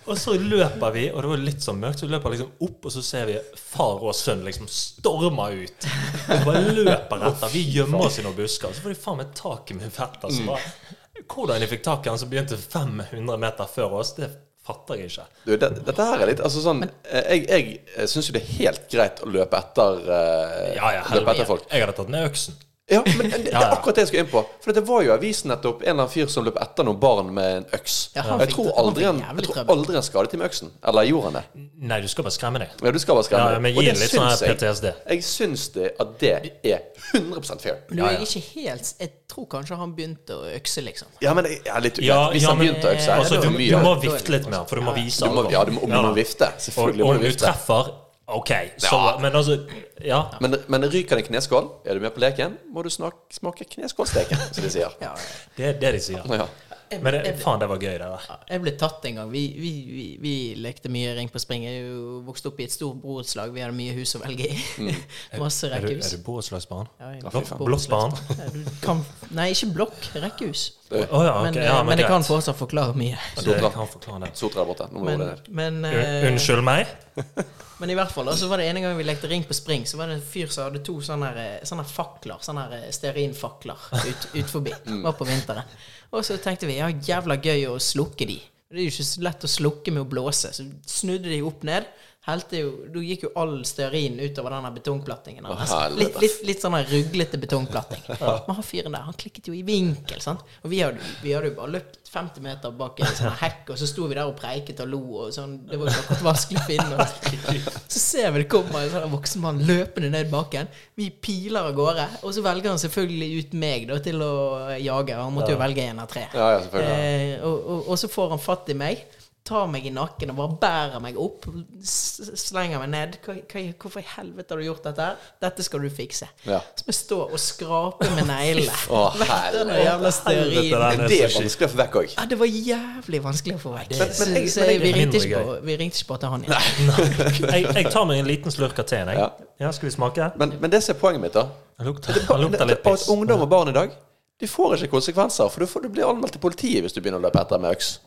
Speaker 2: og så løper vi, og det var litt sånn mørkt, så vi løper liksom opp, og så ser vi far og sønn liksom storme ut. Og bare løper etter. Vi gjemmer oss i noen busker, og så får de faen meg tak i min fetter. Så bare,
Speaker 3: Mm.
Speaker 2: hvordan de fikk tak i han som begynte 500 meter før oss, det fatter jeg ikke.
Speaker 3: Du, det, dette her er litt Altså sånn Jeg, jeg syns jo det er helt greit å løpe etter eh,
Speaker 2: Ja, ja,
Speaker 3: Løpe
Speaker 2: helvete.
Speaker 3: etter folk.
Speaker 2: Jeg hadde tatt ned øksen.
Speaker 3: Ja, men det, det
Speaker 2: Ja, ja.
Speaker 3: er akkurat det jeg skulle inn på. For det var jo i avisen nettopp en eller annen fyr som løp etter noen barn med en øks.
Speaker 1: Ja, han
Speaker 3: Og jeg
Speaker 1: fikk
Speaker 3: tror
Speaker 1: det- han
Speaker 3: aldri
Speaker 1: fikk
Speaker 3: han,
Speaker 1: jævlig
Speaker 3: jeg tror
Speaker 1: trøbbel.
Speaker 3: aldri han skadet dem med øksen. Eller gjorde han det?
Speaker 2: Nei, du skal bare skremme deg.
Speaker 3: Ja, du skal bare skremme.
Speaker 2: Ja, men
Speaker 3: Og
Speaker 2: gi
Speaker 3: det
Speaker 2: en litt sånn her
Speaker 3: syns jeg-
Speaker 2: PTSD.
Speaker 3: Jeg syns det at det er 100 fair.
Speaker 1: Men du
Speaker 2: Ja,
Speaker 1: er
Speaker 2: ja.
Speaker 1: ikke helt Jeg tror kanskje han begynte å økse, liksom.
Speaker 3: Ja, men jeg er litt ugreit.
Speaker 2: Ja,
Speaker 3: Hvis
Speaker 2: ja,
Speaker 3: han
Speaker 2: men-
Speaker 3: begynte å økse, er
Speaker 2: Altså,
Speaker 3: det
Speaker 2: du,
Speaker 3: for
Speaker 2: du
Speaker 3: mye.
Speaker 2: må vifte litt med den, for du må vise
Speaker 3: Du må,
Speaker 2: alvor.
Speaker 3: ja, du må, du må
Speaker 2: Ja.
Speaker 3: vifte.
Speaker 2: Og
Speaker 3: Selvfølgelig må
Speaker 2: om
Speaker 3: du
Speaker 2: du
Speaker 3: vifte.
Speaker 2: treffer OK, så
Speaker 3: Ja.
Speaker 2: Men altså Ja.
Speaker 3: Men, men ryker det kneskål, er du med på leken, må du snak, smake kneskålsteken, som de sier.
Speaker 1: Ja,
Speaker 2: Det er det de sier.
Speaker 3: Ja.
Speaker 2: Men det, faen, det var gøy, det der.
Speaker 1: ja. jeg ble tatt en gang. Vi, vi, vi, vi lekte mye ring på spring. Jeg er jo vokst opp i et stort borettslag. Vi hadde mye hus å velge i. Masse
Speaker 2: Mm. Er du, er
Speaker 1: rekkehus.
Speaker 2: du borettslagsbarn?
Speaker 1: Ja, jeg er
Speaker 2: Blokk-
Speaker 1: borettslagsbarn.
Speaker 2: Blokkbarn?
Speaker 1: Ja, du kan- Nei, ikke blokk. Rekkehus.
Speaker 2: Å ja, Ah, ok.
Speaker 1: Men, eh,
Speaker 2: ja,
Speaker 1: men det
Speaker 2: greit.
Speaker 1: kan fortsatt forklare mye.
Speaker 2: Det kan forklare det.
Speaker 3: Sotra er borte. Nå må du
Speaker 1: Men,
Speaker 3: roe deg ned.
Speaker 1: men,
Speaker 2: Un-
Speaker 1: eh,
Speaker 2: Unnskyld meg?
Speaker 1: Men i hvert fall, da, så var det ene gang vi lekte ring på spring, så var det en fyr som hadde to sånne, her- eh, sånne fakler, sånne her eh, stearinfakler ut, ut forbi. Var på vinteren. Og så tenkte vi ja, jævla gøy å slukke de. Det er jo ikke så lett å slukke med å blåse. Så snudde de opp ned. Helte jo, Da gikk jo all stearin utover denne betongplattingen. hans.
Speaker 3: Å, helvete.
Speaker 1: Litt, litt, litt sånn her ruglete betongplatting. Men han fyren der, han klikket jo i vinkel. Sant? Og vi hadde, vi hadde jo bare løpt 50 meter bak en sånn hekk, og så sto vi der og preiket og lo. Og sånn. Det var jo ikke akkurat vanskelig å finne oss. Så ser vi det kommer en sånn voksen mann løpende ned bakken. Vi piler av gårde, og så velger han selvfølgelig ut meg da, til å jage. Han måtte jo velge én av tre.
Speaker 3: Ja, ja, selvfølgelig.
Speaker 1: Eh, og, og, og så får han fatt i meg, tar meg i nakken og bare bærer meg opp. s- Slenger meg ned. Hva, hva, 'Hvorfor i helvete har du gjort dette her?' 'Dette skal du fikse'.
Speaker 3: Ja.
Speaker 1: Så jeg står og skraper med neglene.
Speaker 3: Å,
Speaker 1: Vekk den
Speaker 3: helvete.
Speaker 1: jævla
Speaker 2: Helvete,
Speaker 1: stearin.
Speaker 2: da.
Speaker 3: Men det er vanskelig å få vekk òg.
Speaker 1: Ja, det var jævlig vanskelig å få vekk.
Speaker 2: Men- men
Speaker 1: Så-
Speaker 3: jeg-
Speaker 1: så
Speaker 3: men jeg-
Speaker 1: vi, ringte
Speaker 2: Mindre
Speaker 1: ikke på, vi ringte ikke på til han igjen.
Speaker 2: Jeg, jeg tar meg en liten slurk av teen, jeg.
Speaker 3: Ja.
Speaker 2: Ja, skal vi smake?
Speaker 3: Men, men det som er poenget mitt, da
Speaker 2: Han lukter, han lukter litt
Speaker 3: på at
Speaker 2: piss.
Speaker 3: ungdom og barn i dag De får ikke konsekvenser, for du, får, du blir anmeldt til politiet hvis du begynner å løpe etter med øks.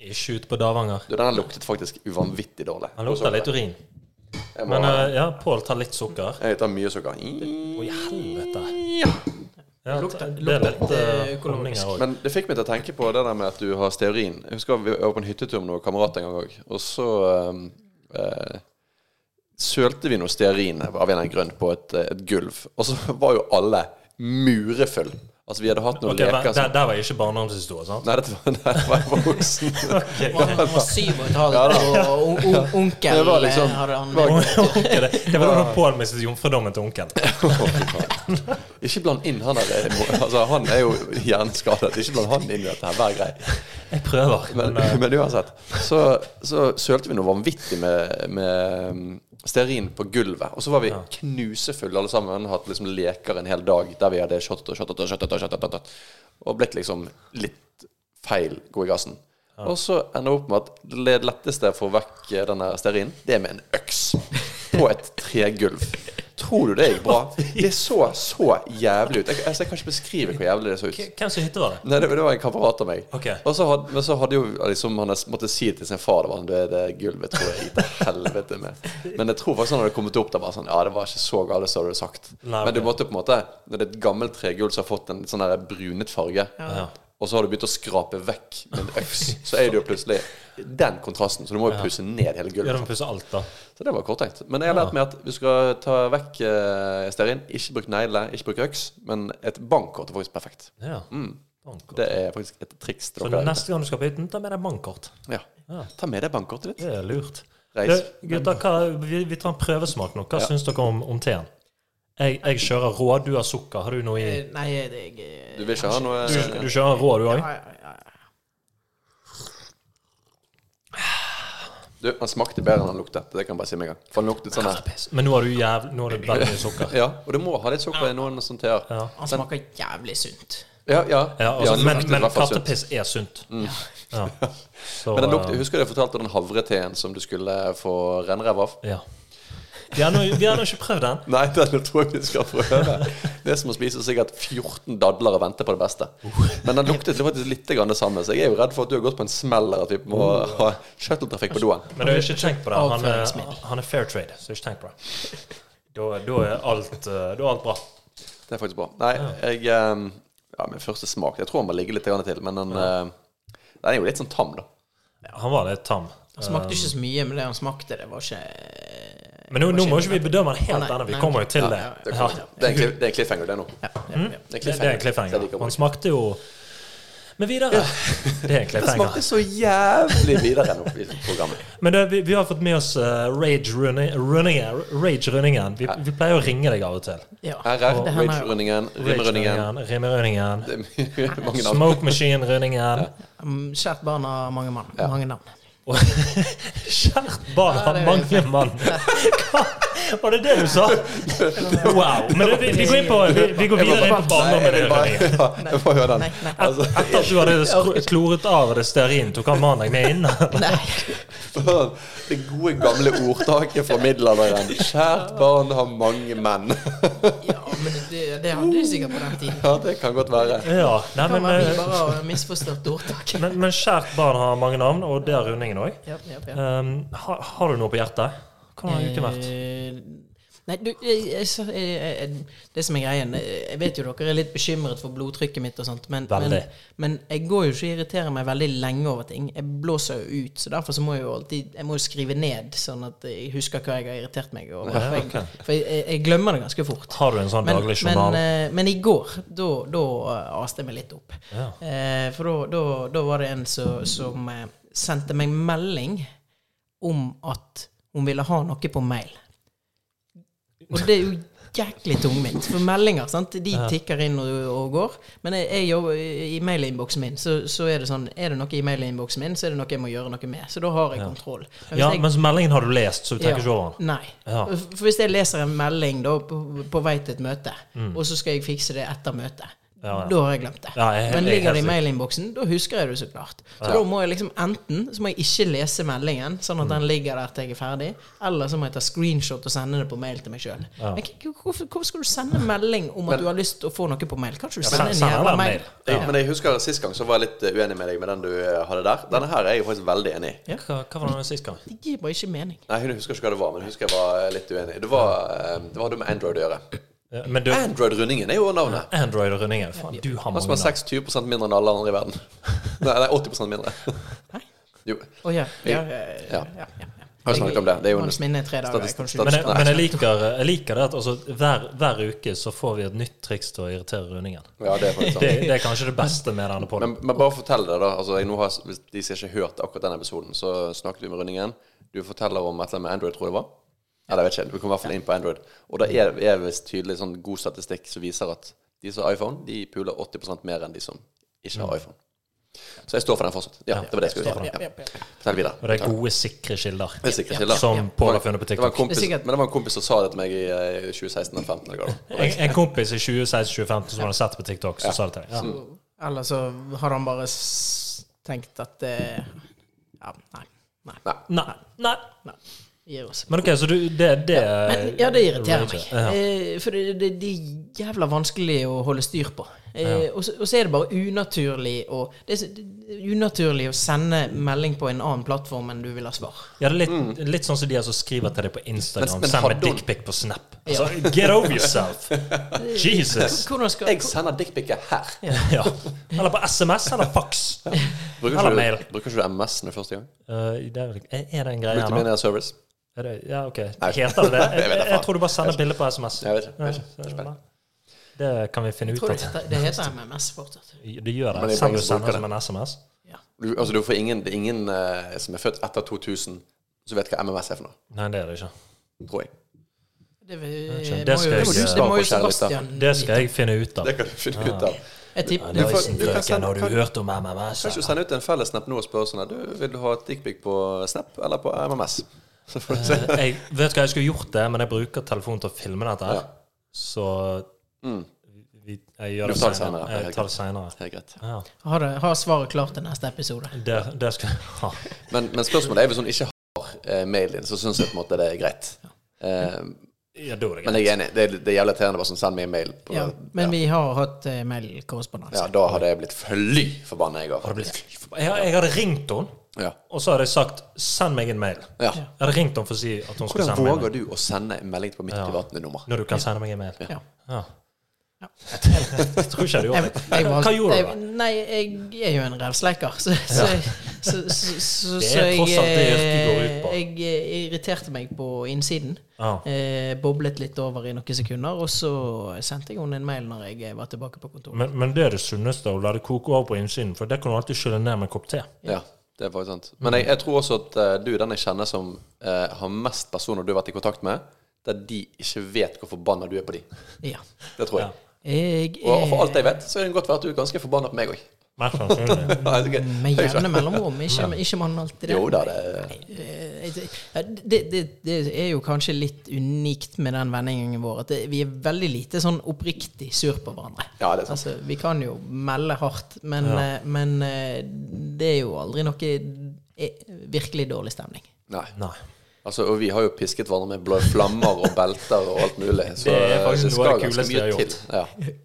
Speaker 2: Ikke ut på Davanger.
Speaker 3: Du, Den her luktet faktisk uvanvittig dårlig.
Speaker 2: Han lukter litt urin.
Speaker 3: Jeg, må,
Speaker 2: Men eh, ja, Pål tar litt sukker.
Speaker 3: jeg tar mye sukker. I-
Speaker 2: Å, i helvete.
Speaker 3: Ja.
Speaker 2: Ja,
Speaker 1: Lukter-
Speaker 2: det er litt
Speaker 1: lukter
Speaker 2: eh,
Speaker 1: økologisk.
Speaker 2: honninger òg.
Speaker 3: Men det fikk meg til å tenke på det der med at du har stearin. Jeg husker vi var på en hyttetur med noen kamerater en gang òg, og så eh, eh, sølte vi noe stearin av en eller annen grunn på et, eh, et gulv, og så var jo alle murefull. Altså, vi hadde hatt noen
Speaker 2: Ok, men
Speaker 3: leker
Speaker 2: der,
Speaker 3: som
Speaker 2: der var ikke barndomshistorie, sant?
Speaker 3: Nei, dette var, dette var jeg voksen.
Speaker 1: Han var syv og et halvt, og on- on- onkel
Speaker 3: Det var liksom-
Speaker 1: eh, hadde han
Speaker 3: var-
Speaker 2: Onkel, det- det var da Pål mistet jomfrudommen til onkelen.
Speaker 3: Å, fy faen. Ikke bland inn han der. Altså, han er jo hjerneskadet. Ikke bland han inn i dette her, hver greie.
Speaker 2: Jeg prøver. Men,
Speaker 3: Men,
Speaker 2: eh,
Speaker 3: men uansett, så, så sølte vi noe vanvittig med, med um, stearin på gulvet. Og så var vi knusefulle alle sammen. Hatt liksom leker en hel dag der vi hadde shottet og shottet og shottet og shottet. og shottet. Og blitt liksom litt feil gode i gassen. Og så ender vi opp med at det letteste for å få vekk eh, denne stearinen, det er med en øks. På et tregulv. Tror du det gikk bra? Det så så jævlig ut. Jeg, altså, jeg kan ikke beskrive hvor jævlig det så ut.
Speaker 2: k- hvem som hytte var det?
Speaker 3: Nei, det, det var en kamerat av meg.
Speaker 2: Ok.
Speaker 3: Og så hadde, men så hadde jo liksom, han måtte si til sin far det var det, det gulvet tror jeg gikk til helvete med. Men jeg tror faktisk han hadde kommet opp der bare sånn Ja, det var ikke så galt som du hadde sagt.
Speaker 2: Nei,
Speaker 3: Men du
Speaker 2: ok.
Speaker 3: måtte på en måte Når det er et gammelt tregulv som har fått en sånn der brunet farge,
Speaker 2: Ja.
Speaker 3: og så har du begynt å skrape vekk med en øks, så er det jo plutselig den kontrasten. Så du må jo pusse ned hele
Speaker 2: Ja,
Speaker 3: gulvet.
Speaker 2: du må pusse alt, da.
Speaker 3: Så det var korttenkt. Men jeg har lært meg at du skal ta vekk eh, stearin. Ikke bruk negle, ikke bruk øks. Men et bankkort er faktisk perfekt. Mm,
Speaker 2: Ja. Bankkort.
Speaker 3: Det er faktisk et triks til
Speaker 2: Så
Speaker 3: dere.
Speaker 2: neste gang du skal på hytten, ta med deg bankkort.
Speaker 3: Ja. Ta med deg bankkortet ditt.
Speaker 2: Det er lurt.
Speaker 3: Reis.
Speaker 2: Du, gutter, hva, vi, vi tar en prøvesmak nå. Hva syns dere om, om teen? Jeg, jeg kjører rå. Du har sukker. Har du noe i
Speaker 1: Eh, Nei, det jeg
Speaker 3: Du vil ikke ha noe
Speaker 2: Du, du kjører rå, du òg?
Speaker 1: ja, ja, ja.
Speaker 3: Du, han smakte bedre enn han luktet. Det kan jeg bare si med en gang. For han luktet sånn her.
Speaker 2: Men nå har du jævlig Nå har du veldig mye sukker.
Speaker 3: Ja, og du må ha litt sukker i noen sånt her.
Speaker 2: Ja.
Speaker 1: Han smaker jævlig sunt.
Speaker 3: Ja, ja.
Speaker 2: Ja, altså,
Speaker 3: den
Speaker 2: men
Speaker 3: luktet i
Speaker 2: men
Speaker 3: hvert fall sunt. Mm.
Speaker 2: kattepiss er sunt. Ja. Så, eh,
Speaker 3: Men den lukte, Husker du jeg fortalte om den havreteen som du skulle få rennræv av?
Speaker 2: ja. Vi har nå vi har nå ikke prøvd den.
Speaker 3: Nei, den tror jeg vi skal prøve. Det er som å spise sikkert 14 dadler og vente på det beste. Men den luktet faktisk litt grann det samme, så jeg er jo redd for at du har gått på en smell eller at vi må
Speaker 2: Oh.
Speaker 3: ha shuttletrafikk på doen.
Speaker 2: Men du har ikke tenkt på det. Han er,
Speaker 1: Avføringsmiddel.
Speaker 2: han er fair trade, så ikke tenk på det. Da, da, er alt, eh, da er alt bra.
Speaker 3: Det er faktisk bra. Nei, jeg eh, Ja, min første smak Jeg tror han må ligge litt grann til, men den, eh, den er jo litt sånn tam, da.
Speaker 2: Han var litt tam. Eh,
Speaker 1: Han smakte ikke så mye, men det han smakte, det var ikke
Speaker 2: Men nå, nå må ikke vi bedømme den
Speaker 1: Nei,
Speaker 2: helt ennå. Vi
Speaker 1: nei.
Speaker 2: kommer jo til det. Mm?
Speaker 3: Det,
Speaker 2: Ja.
Speaker 3: kommer, det, er en cliff- det er en cliffhanger, det nå.
Speaker 1: Ja, ja, ja.
Speaker 3: Det er en
Speaker 2: Det, det er en cliffhanger.
Speaker 3: Det liker
Speaker 2: Han
Speaker 3: jeg.
Speaker 2: smakte jo Men videre. Det er en
Speaker 3: Det
Speaker 2: cliffhanger.
Speaker 3: smakte så jævlig videre nå i programmet.
Speaker 2: Men det, vi, vi har fått med oss eh, Rage Running- Runningen. Rage Runningen. Vi, vi pleier å ringe deg av og til.
Speaker 1: ja.
Speaker 3: Her er
Speaker 1: Og-
Speaker 3: Rage-rundingen,
Speaker 2: Rage
Speaker 3: Rim-rundingen
Speaker 2: Runningen, Rime Runningen.
Speaker 3: Det er mye- Mange navn.
Speaker 2: Smoke Machine Runningen.
Speaker 1: Mm, Kjært barn har mange, mann, mange navn.
Speaker 2: Kjært barn har
Speaker 1: det er
Speaker 2: mange mann. Hva? Var det det du sa? Wow. Men vi, vi går, inn på, vi, vi går videre inn på barndommen.
Speaker 3: Jeg
Speaker 2: din,
Speaker 3: vil bare-
Speaker 2: Rønningen.
Speaker 3: Ja, Jeg får høre den.
Speaker 1: Nei, nei.
Speaker 3: Altså,
Speaker 2: Etter at du hadde skro- kloret av det stearin, tok han mannen deg med inn?
Speaker 3: det gode, gamle ordtaket fra middelalderen. Kjært barn har mange menn.
Speaker 1: Ja, men det, det hadde de sikkert på den tiden.
Speaker 3: Ja, det kan godt være.
Speaker 2: Ja. Nei,
Speaker 1: Kan
Speaker 2: men,
Speaker 1: være vi
Speaker 2: eh,
Speaker 1: bare har misforstått ordtaket.
Speaker 2: men, men kjært barn har mange navn, og det har rundingen òg.
Speaker 1: Ja, ja, ja.
Speaker 2: Um, har, har du noe på hjertet? Hvordan har uken vært?
Speaker 1: Eh, Nei, du, jeg, jeg, så- jeg, jeg, det som er greien eh, Jeg vet jo dere er litt bekymret for blodtrykket mitt og sånt, men, men,
Speaker 2: Veldig.
Speaker 1: men jeg går jo ikke og irriterer meg veldig lenge over ting. Jeg blåser jo ut, så derfor så må jeg jo alltid Jeg må jo skrive ned, sånn at jeg husker hva jeg har irritert meg over. For jeg, for jeg, jeg, jeg glemmer det ganske fort.
Speaker 2: Har du en sånn
Speaker 1: Men,
Speaker 2: daglig
Speaker 1: men,
Speaker 2: journal?
Speaker 1: eh, men i går, da, da eh, aste jeg meg litt opp.
Speaker 2: Ja.
Speaker 1: Eh, For da- da- da var det en som, som eh, sendte meg melding om at hun ville ha noe på mail. Og det er jo jæklig tungvint. For meldinger sant? de tikker inn og, og går. Men jeg, jeg jobber i i mailinnboksen min, så, så er det sånn Er det noe i mailinnboksen min, så er det noe jeg må gjøre noe med. Så da har jeg kontroll. Men hvis
Speaker 2: ja,
Speaker 1: jeg-
Speaker 2: mens meldingen har du lest, så du tenker ikke over den.
Speaker 1: Nei.
Speaker 2: Ja.
Speaker 1: For hvis jeg leser en melding da, på, på vei til et møte, og så skal jeg fikse det etter møtet
Speaker 2: Mm. Ja, ja.
Speaker 1: Da har jeg glemt det.
Speaker 2: Ja,
Speaker 3: Eh,
Speaker 2: jeg-
Speaker 1: Men
Speaker 2: jeg-
Speaker 1: ligger det i
Speaker 2: helt
Speaker 1: mailinnboksen, da husker jeg det så klart. Så da må jeg liksom enten så må jeg ikke lese meldingen, sånn
Speaker 3: Mm.
Speaker 1: at den ligger der til jeg er ferdig, eller så må jeg ta screenshot og sende det på mail til meg sjøl. Hvorfor, hvorfor skal du sende melding om at du har lyst til å få noe på mail? Kan ikke du sende en
Speaker 2: send
Speaker 1: jævla
Speaker 2: den
Speaker 1: mail?
Speaker 2: mail.
Speaker 3: Jeg, men jeg husker sist gang så var jeg litt eh, uenig med deg med den du eh, hadde der. Denne her er jeg jo faktisk veldig enig i.
Speaker 2: Hva, hva var det sist gang?
Speaker 1: Det gir bare ikke mening.
Speaker 3: Nei, jeg husker ikke hva det var, men jeg husker jeg var eh, litt uenig. Det var, eh, det var det med Android å gjøre.
Speaker 2: Ja, Men
Speaker 1: Eh.
Speaker 2: du,
Speaker 3: Android-rundingen er jo navnet.
Speaker 2: Android og Rønningen, faen, du har
Speaker 3: Han som
Speaker 2: mange
Speaker 3: er 26 mindre enn alle andre i verden. Nei, nei 80 mindre.
Speaker 1: Hæ?
Speaker 3: Jo.
Speaker 1: Å ja. ja, ja, ja,
Speaker 3: Ja.
Speaker 1: ja, ja.
Speaker 3: Har vi snakket om det? Det er jo en
Speaker 1: Hans minne er tre dager.
Speaker 3: statistikk-
Speaker 1: kanskje.
Speaker 2: Men jeg,
Speaker 3: Nei.
Speaker 2: men jeg, liker, jeg liker det at altså, hver, hver uke så får vi et nytt triks til å irritere Rønningen.
Speaker 3: Ja, det er faktisk sant.
Speaker 2: Det, det er kanskje det beste med denne podden.
Speaker 3: Men, men bare fortell det, da. Altså, jeg nå har, hvis de som ikke har hørt akkurat den episoden, så snakket vi med Rundingen. Du forteller om et eller annet med Android, tror jeg det var. Eller jeg vet ikke. Vi kom i hvert fall inn på Android. Og det er, er visst tydelig sånn god statistikk som viser at de som har iPhone, de puler 80 mer enn de som ikke har iPhone. Så jeg står for den fortsatt. Mm. Ja, det var det jeg
Speaker 1: Ja,
Speaker 3: skulle si.
Speaker 1: ja,
Speaker 3: Ja.
Speaker 1: ja, ja.
Speaker 3: Fortell
Speaker 2: Og det
Speaker 3: videre.
Speaker 2: er gode, sikre kilder.
Speaker 3: Helt sikkert, Hilda.
Speaker 2: Som Pål har funnet på
Speaker 3: Det var en
Speaker 2: TikTok.
Speaker 3: kompis,
Speaker 1: Det er sikkert-
Speaker 3: men det var en kompis som sa det til meg i eh, 2016 eller 2015. Eller hva det var.
Speaker 2: En, en kompis i 2016-2015 som hadde sett det på TikTok, så sa det til deg. Ja.
Speaker 1: Eller så har han bare s- tenkt at det Ja, nei. Nei.
Speaker 2: Nei. Nei.
Speaker 1: nei. Gir oss.
Speaker 2: Men OK, så du Det, det
Speaker 1: Men, ja, det irriterer meg.
Speaker 2: Ja.
Speaker 1: Eh, For det, det, det er jævla vanskelig å holde styr på. Eh, Og så og så er det bare unaturlig å, det er så, det er unaturlig å sende melding på en annen plattform enn du vil ha svar.
Speaker 2: Ja, det er litt, litt sånn som de altså skriver til deg på Instagram.
Speaker 3: Mm. Men- men
Speaker 2: Send meg
Speaker 3: hadde hun-
Speaker 2: dickpic på Snap. Altså, get over yourself! Jesus!
Speaker 1: Hvordan skal
Speaker 3: Jeg sender dickpicer her.
Speaker 2: Ja. Eller på SMS eller fax.
Speaker 3: Bruker
Speaker 2: Eller
Speaker 3: ikke,
Speaker 2: mail.
Speaker 3: du, bruker ikke du MS når første gang?
Speaker 2: Eh, det er, vel, er er det en greie her nå?
Speaker 3: Multimedia service?
Speaker 2: Er det, ja, OK. Heter det det? Jeg,
Speaker 3: vet da
Speaker 2: jeg,
Speaker 3: faen.
Speaker 2: tror du bare sender bilde på SMS.
Speaker 3: Jeg vet ikke, jeg vet ikke.
Speaker 2: Ja, så- Det kan vi finne ut
Speaker 1: Tror du
Speaker 2: av.
Speaker 1: det, det heter MMS fortsatt?
Speaker 2: Du gjør
Speaker 3: Men
Speaker 2: det.
Speaker 3: det er
Speaker 2: Selv om
Speaker 3: ingen
Speaker 2: du
Speaker 3: som
Speaker 2: sender
Speaker 3: bruker
Speaker 2: det som en SMS.
Speaker 1: Ja.
Speaker 3: Du, altså, du får ingen, det er ingen eh, som er født etter 2000 som vet hva MMS er for noe,
Speaker 2: Nei, det er det ikke.
Speaker 3: Mm. tror jeg.
Speaker 1: Det, vil- må
Speaker 2: skjønner. Det skal
Speaker 1: jo-
Speaker 2: jeg-
Speaker 1: det må jo
Speaker 3: Svar på kjærlighet, da.
Speaker 1: Sebastian
Speaker 2: Det skal jeg finne ut av.
Speaker 3: Det kan du finne ut av.
Speaker 1: Jeg tipper
Speaker 3: Du får-
Speaker 2: Andreassen,
Speaker 3: du kan
Speaker 2: frøken,
Speaker 3: sende-
Speaker 2: har du
Speaker 3: kan-
Speaker 2: hørt om MMS?
Speaker 3: Kanskje du sender ut en fellessnap nå og spør sånn her, du, Vil du ha et dickpic på Snap eller på MMS? Så får du se.
Speaker 2: Eh, Jeg vet hva jeg skulle gjort det, men jeg bruker telefonen til å filme dette. her.
Speaker 3: Ja.
Speaker 2: Så vi, jeg gjør
Speaker 3: Du
Speaker 2: det
Speaker 3: tar
Speaker 2: senere.
Speaker 3: det senere, det er
Speaker 2: Jeg
Speaker 3: helt
Speaker 2: tar det senere.
Speaker 3: Mm, Det er greit.
Speaker 2: Ja.
Speaker 1: Har, det, har svaret klart til neste episode.
Speaker 2: Det, det skal jeg ha.
Speaker 3: Men, men spørsmålet er hvis hun ikke har eh, mail din, så syns jeg på en måte det er greit. Eh,
Speaker 2: Ja, da er det
Speaker 3: men
Speaker 2: greit.
Speaker 3: jeg er enig. Det, er- det er jævlig irriterende bare sånn send meg en mail. På,
Speaker 1: Ja, men vi har hatt eh, mailkorrespondanse.
Speaker 3: ja, da hadde jeg blitt fly forbanna, jeg
Speaker 2: Har
Speaker 3: òg.
Speaker 2: det blitt- Jeg, jeg hadde ringt henne,
Speaker 3: Ja.
Speaker 2: og så hadde jeg sagt 'send meg en mail'.
Speaker 3: ja.
Speaker 2: Jeg hadde ringt henne for å si at hun skulle sende
Speaker 3: Hvordan
Speaker 2: meg en mail.
Speaker 3: våger du å sende en melding på mitt private nummer?
Speaker 2: Når du kan sende meg en mail.
Speaker 1: Ja.
Speaker 2: Ja.
Speaker 1: Ja.
Speaker 2: Jeg tror ikke jeg hadde
Speaker 1: Jeg,
Speaker 2: gjort det.
Speaker 1: jeg
Speaker 2: Hva-
Speaker 1: valgte-
Speaker 2: Hva gjorde du?
Speaker 1: jeg-
Speaker 2: da?
Speaker 1: Nei, jeg er jo en revsleiker, så, så, så, så, så,
Speaker 2: Det er
Speaker 1: så jeg,
Speaker 2: tross alt det yrket går ut på.
Speaker 1: eh, jeg eh, irriterte meg på innsiden.
Speaker 2: Ja.
Speaker 1: Eh, boblet litt over i noen sekunder, og så sendte jeg henne en mail når jeg eh, var tilbake på kontoret.
Speaker 2: Men, men det er det sunneste, å la det koke over på innsiden, for det kan du alltid skylle ned med en kopp te.
Speaker 3: Ja, det er faktisk sant. Men jeg, jeg tror også at eh, du er den jeg kjenner som eh, har mest personer du har vært i kontakt med, der de ikke vet hvor forbanna du er på de.
Speaker 1: Ja.
Speaker 3: Det tror jeg.
Speaker 1: Jeg eh,
Speaker 3: Og, og for
Speaker 1: er
Speaker 3: alt jeg vet, så kan det godt være at du er ganske forbanna på meg òg.
Speaker 2: Mest sannsynlig.
Speaker 1: med jevne mellomrom, ikke, ikke mann alltid Mm, det.
Speaker 3: Jo da, det
Speaker 1: Eh, Det, det, det er jo kanskje litt unikt med den vennegjengen vår, at det, vi er veldig lite sånn oppriktig sur på hverandre.
Speaker 3: Ja, det er sant.
Speaker 1: Altså, vi kan jo melde hardt, men, eh, men eh, det er jo aldri noe eh, virkelig dårlig stemning.
Speaker 3: Nei.
Speaker 2: Nei.
Speaker 3: Altså, og vi har jo pisket hverandre med blå flammer og belter og alt mulig. Så
Speaker 2: Det er faktisk noe av det
Speaker 3: skal ganske
Speaker 2: kuleste jeg har
Speaker 3: mye til. Ja.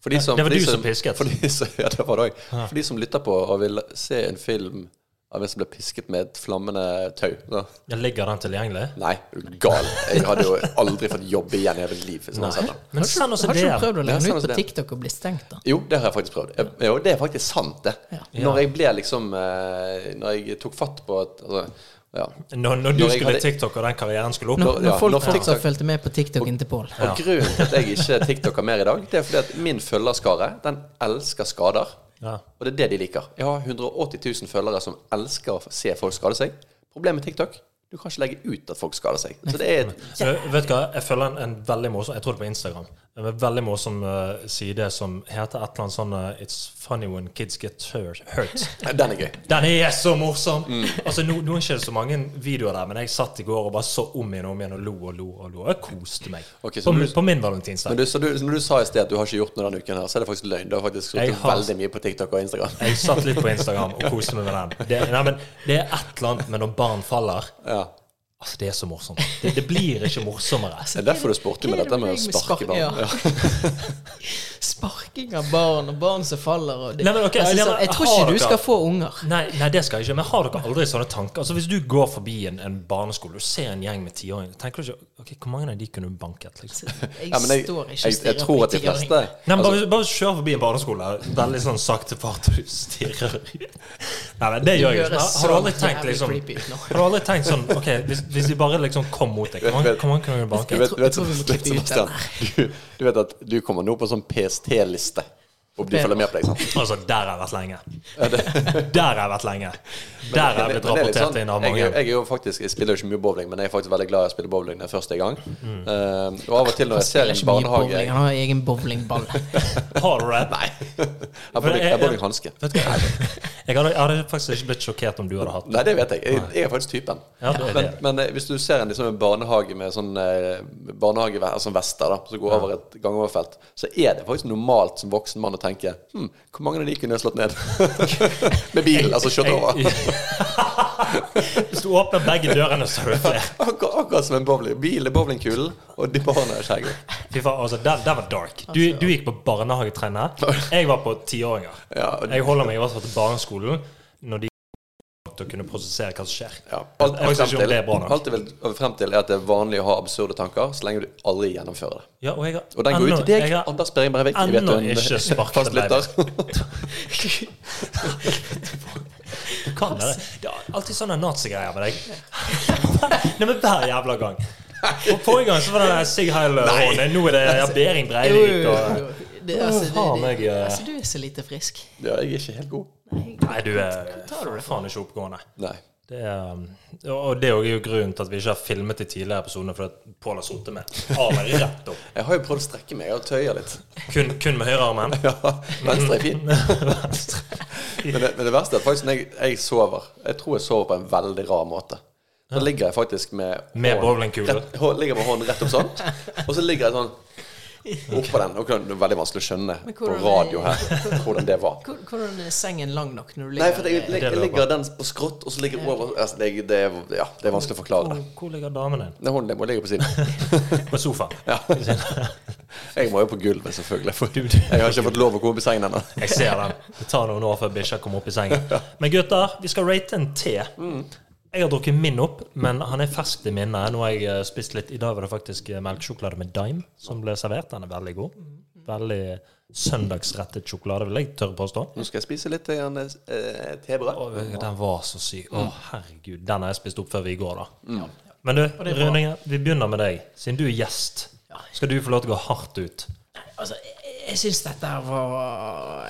Speaker 3: For de som,
Speaker 2: det var
Speaker 3: for de
Speaker 2: du som pisket.
Speaker 3: For de som, ja, det var det også. For de som lytter på og vil se en film av en som ble pisket med et flammende tau. Da.
Speaker 2: Ja, Ligger den tilgjengelig?
Speaker 3: Nei, er du gal. Jeg hadde jo aldri fått jobbe igjen i hele liv. Hvis noen hadde sett den.
Speaker 2: Men send oss en
Speaker 1: Har ikke du
Speaker 2: del.
Speaker 1: prøvd å
Speaker 3: Ja,
Speaker 1: legge den ut
Speaker 3: sånn
Speaker 1: på
Speaker 3: som det.
Speaker 1: TikTok og bli stengt, da?
Speaker 3: Jo, det har jeg faktisk prøvd. Jeg- Jo, det er faktisk sant, det. Når jeg ble liksom eh, Når jeg tok fatt på at altså, ja.
Speaker 2: Når, når du
Speaker 3: Når jeg
Speaker 2: skulle
Speaker 3: hadde-
Speaker 2: TikTok, og den karrieren skulle opp
Speaker 1: Når,
Speaker 3: ja,
Speaker 1: når folk
Speaker 3: når
Speaker 1: fortsatt
Speaker 3: TikTok-
Speaker 1: fulgte med på TikToken til Pål.
Speaker 3: Og grunnen til at jeg ikke tiktoker mer i dag, det er fordi at min følgerskare, den elsker skader.
Speaker 2: Ja.
Speaker 3: Og det er det de liker. Jeg har 180 000 følgere som elsker å se folk skade seg. Problemet med TikTok du kan ikke legge ut at folk skader seg. Så det er et
Speaker 2: Så, vet du hva, jeg følger en, en veldig morsom Jeg tror det er på Instagram. Det er en veldig morsom eh, side som heter et eller annet sånn eh, It's funny when kids get hurt. hurt.
Speaker 3: Den er gøy.
Speaker 2: Den er så morsom!
Speaker 3: Mm.
Speaker 2: Altså, nå, nå er det ikke så mange videoer der, men jeg satt i går og bare så om igjen og om igjen og lo og lo og lo. Jeg koste meg.
Speaker 3: Ok,
Speaker 2: på,
Speaker 3: så du-
Speaker 2: min- på min valentinsdag.
Speaker 3: Men du, så du, når du sa i sted at du har ikke gjort noe denne uken, her, så er det faktisk løgn. Du har faktisk
Speaker 2: Jeg
Speaker 3: gjort
Speaker 2: har-
Speaker 3: veldig mye på TikTok og Instagram.
Speaker 2: Jeg satt litt på Instagram og koste meg med den. Det, nei, men, det er et eller annet med når barn faller.
Speaker 3: Ja.
Speaker 2: Altså, det er så morsomt. Det, det blir ikke morsommere.
Speaker 3: Det er derfor du spurte
Speaker 1: Hva
Speaker 3: med
Speaker 1: er det
Speaker 3: dette med å
Speaker 1: med
Speaker 3: sparke
Speaker 1: spark-
Speaker 3: barn.
Speaker 1: ja.
Speaker 3: Ja.
Speaker 1: Sparking av barn, og barn som faller og det.
Speaker 2: Nei, men ok,
Speaker 1: altså,
Speaker 2: ja,
Speaker 1: sånn,
Speaker 2: men
Speaker 1: Jeg tror
Speaker 2: har
Speaker 1: ikke du
Speaker 2: dere-
Speaker 1: skal få unger.
Speaker 2: Nei, nei, det skal jeg ikke. Men har dere aldri sånne tanker? Altså, Hvis du går forbi en, en barneskole og ser en gjeng med tiåringer, tenker du ikke ok, hvor mange av de kunne du banket? liksom?
Speaker 1: Jeg
Speaker 3: Ja, men jeg,
Speaker 1: står ikke
Speaker 3: jeg, jeg tror at de fleste
Speaker 2: Nei, men
Speaker 3: Altså-
Speaker 2: bare, bare kjør forbi en barneskole. Veldig sånn sakte fart, og du stirrer. Nei, men det gjør jeg ikke. Har, har du aldri tenkt liksom Har du aldri tenkt sånn Ok, hvis, hvis de bare liksom kom mot deg, hvor mange- hvor mange kunne du
Speaker 3: du
Speaker 2: banket?
Speaker 3: vet,
Speaker 1: tror-
Speaker 3: du vet,
Speaker 1: jeg tror vi må klippe ut
Speaker 3: Sebastian, du, du vet at du kommer nå på en sånn PST-liste. Om de
Speaker 1: Det-
Speaker 3: følger med på deg, sant?
Speaker 2: Altså, der har jeg vært lenge. Der har jeg vært lenge. Der har jeg
Speaker 3: Men
Speaker 2: blitt
Speaker 3: det er litt
Speaker 2: rapportert
Speaker 3: sånn,
Speaker 2: inn av
Speaker 3: jeg,
Speaker 2: mange.
Speaker 3: jeg, er jo faktisk, jeg spiller jo ikke mye bowling, men jeg er faktisk veldig glad i å spille bowling når jeg først er i gang.
Speaker 2: Mm.
Speaker 3: Eh, og av og til når jeg ser en barnehage
Speaker 1: Han har egen bowlingball.
Speaker 2: Har du det? Nei.
Speaker 3: Jeg har bowling- jeg har bowlinghanske.
Speaker 2: Vet du hva? Jeg hadde, jeg hadde faktisk ikke blitt sjokkert om du hadde hatt det.
Speaker 3: Nei, det vet jeg. Jeg, jeg er faktisk typen.
Speaker 2: Ja, det er
Speaker 3: men,
Speaker 2: det.
Speaker 3: men eh, hvis du ser en, liksom, en barnehage med sånn eh, barnehage, altså vester da, som går over et gangoverfelt, så er det faktisk normalt som voksen mann å tenke hm, hvor mange av de kunne jeg slått ned? med bilen, altså kjørt over.
Speaker 2: Hvis du åpner begge dørene, så er det flere.
Speaker 3: Akkurat, akkurat som en bowling. Bilen er bowlingkulen, og de barna er skjegge.
Speaker 2: Fy faen, altså, den, den var dark. Du,
Speaker 3: Altså,
Speaker 2: du gikk på barnehagetrennet. Jeg var på tiåringer.
Speaker 3: Ja, og-
Speaker 2: Jeg holder meg i hvert fall til barneskolen når de til å kunne prosessere hva som skjer.
Speaker 3: Ja.
Speaker 2: Jeg vet
Speaker 3: Alt, alt, frem
Speaker 2: ikke om
Speaker 3: til,
Speaker 2: det er bra nok.
Speaker 3: alt jeg vil frem til, er at det er vanlig å ha absurde tanker så lenge du aldri gjennomfører det.
Speaker 2: Ja, og jeg har
Speaker 3: Og den går
Speaker 2: ennå-
Speaker 3: ut til deg,
Speaker 2: jeg har
Speaker 3: Anders Behring Breivik. Jeg vet du
Speaker 2: ennå
Speaker 3: er en
Speaker 2: ikke sparket
Speaker 3: fast
Speaker 2: meg.
Speaker 3: lytter.
Speaker 2: Kan det? Det er alltid sånne nazigreier med deg. Nei, men hver jævla gang. Og forrige gang så var det Sig Heil-hånden. Nå er det Bering Breivik og
Speaker 1: Det, altså, det,
Speaker 2: Faen,
Speaker 1: det,
Speaker 2: jeg, eh.
Speaker 1: altså, du er så lite frisk.
Speaker 3: Ja, jeg er ikke helt god.
Speaker 2: Nei, du er for faen ikke oppegående.
Speaker 3: Nei.
Speaker 2: Det er, um, og det er jo grunnen til at vi ikke har filmet de tidligere episodene, fordi at Pål har sittet med armen rett opp.
Speaker 3: Jeg har jo prøvd å strekke meg og tøye litt.
Speaker 2: Kun, kun med høyrearmen.
Speaker 3: Ja, Venstre er fin. Men det, men det verste er at faktisk når jeg, jeg sover Jeg tror jeg sover på en veldig rar måte. Så ligger jeg faktisk med
Speaker 2: Med
Speaker 3: hånden-
Speaker 2: bowlingkulen.
Speaker 3: rett- hå- Ligger med hånden rett opp sånn, og så ligger jeg sånn oppå den. Og det er veldig vanskelig å skjønne
Speaker 1: Men
Speaker 3: på
Speaker 1: hvordan-
Speaker 3: radio her hvordan det var.
Speaker 1: Hvor- Hvordan er sengen lang nok når du ligger
Speaker 3: Nei, for jeg, jeg,
Speaker 2: det
Speaker 3: jeg
Speaker 2: var bra.
Speaker 3: ligger den på skrått, og så ligger jeg over altså, det, det, er- ja, det er vanskelig å forklare det.
Speaker 2: Hvor, hvor ligger damen din?
Speaker 3: Nei, Hånden din må ligge på siden.
Speaker 2: På sofaen.
Speaker 3: Jeg må jo på gulvet, selvfølgelig. For jeg har ikke fått lov å komme opp i sengen ennå.
Speaker 2: Jeg ser den. Det tar noen år før bikkja kommer opp i sengen. Men gutter, vi skal rate en te. Jeg har drukket min opp, men han er fersk i minnet. Nå har jeg eh, spist litt. I dag var det faktisk eh, melkesjokolade med dime som ble servert. Den er veldig god. Veldig søndagsrettet sjokolade, vil jeg tørre påstå.
Speaker 3: Nå skal jeg spise litt grann, eh, tebrød.
Speaker 2: Å, Den var så syk. Å, herregud. Den har jeg spist opp før vi går, da. Men du, Rønningen, vi begynner med deg. Siden du er gjest, skal du få lov til å gå hardt ut.
Speaker 1: Altså, jeg, jeg syns dette her var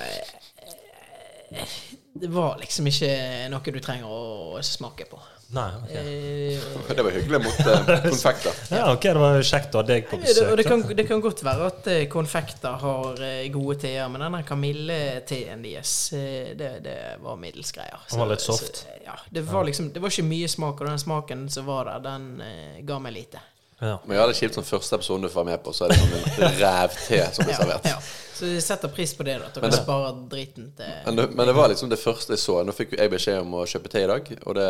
Speaker 1: Det var liksom ikke noe du trenger å smake på.
Speaker 2: Nei, ok.
Speaker 1: Eh,
Speaker 3: Det var hyggelig mot eh, konfekter.
Speaker 2: Ja, ok, det var kjekt å ha deg på
Speaker 1: Ja, det, og det
Speaker 2: besøk. da.
Speaker 1: kan, det kan godt være at eh, konfekter har eh, gode teer, men denne kamilleteen deres, eh, det, det var middels greier.
Speaker 2: Den var litt soft.
Speaker 1: Så, ja, det var liksom Det var ikke mye smak, og den smaken som var der, den eh, ga meg lite.
Speaker 2: Ja.
Speaker 3: Men ja, det er kjipt som første episode du får være med på, så er det som en rævte som blir servert.
Speaker 1: Ja. Så jeg setter pris på det, da, at dere sparer driten til
Speaker 3: Men det, men det var liksom det første jeg så. Nå fikk jo jeg beskjed om å kjøpe te i dag, og det,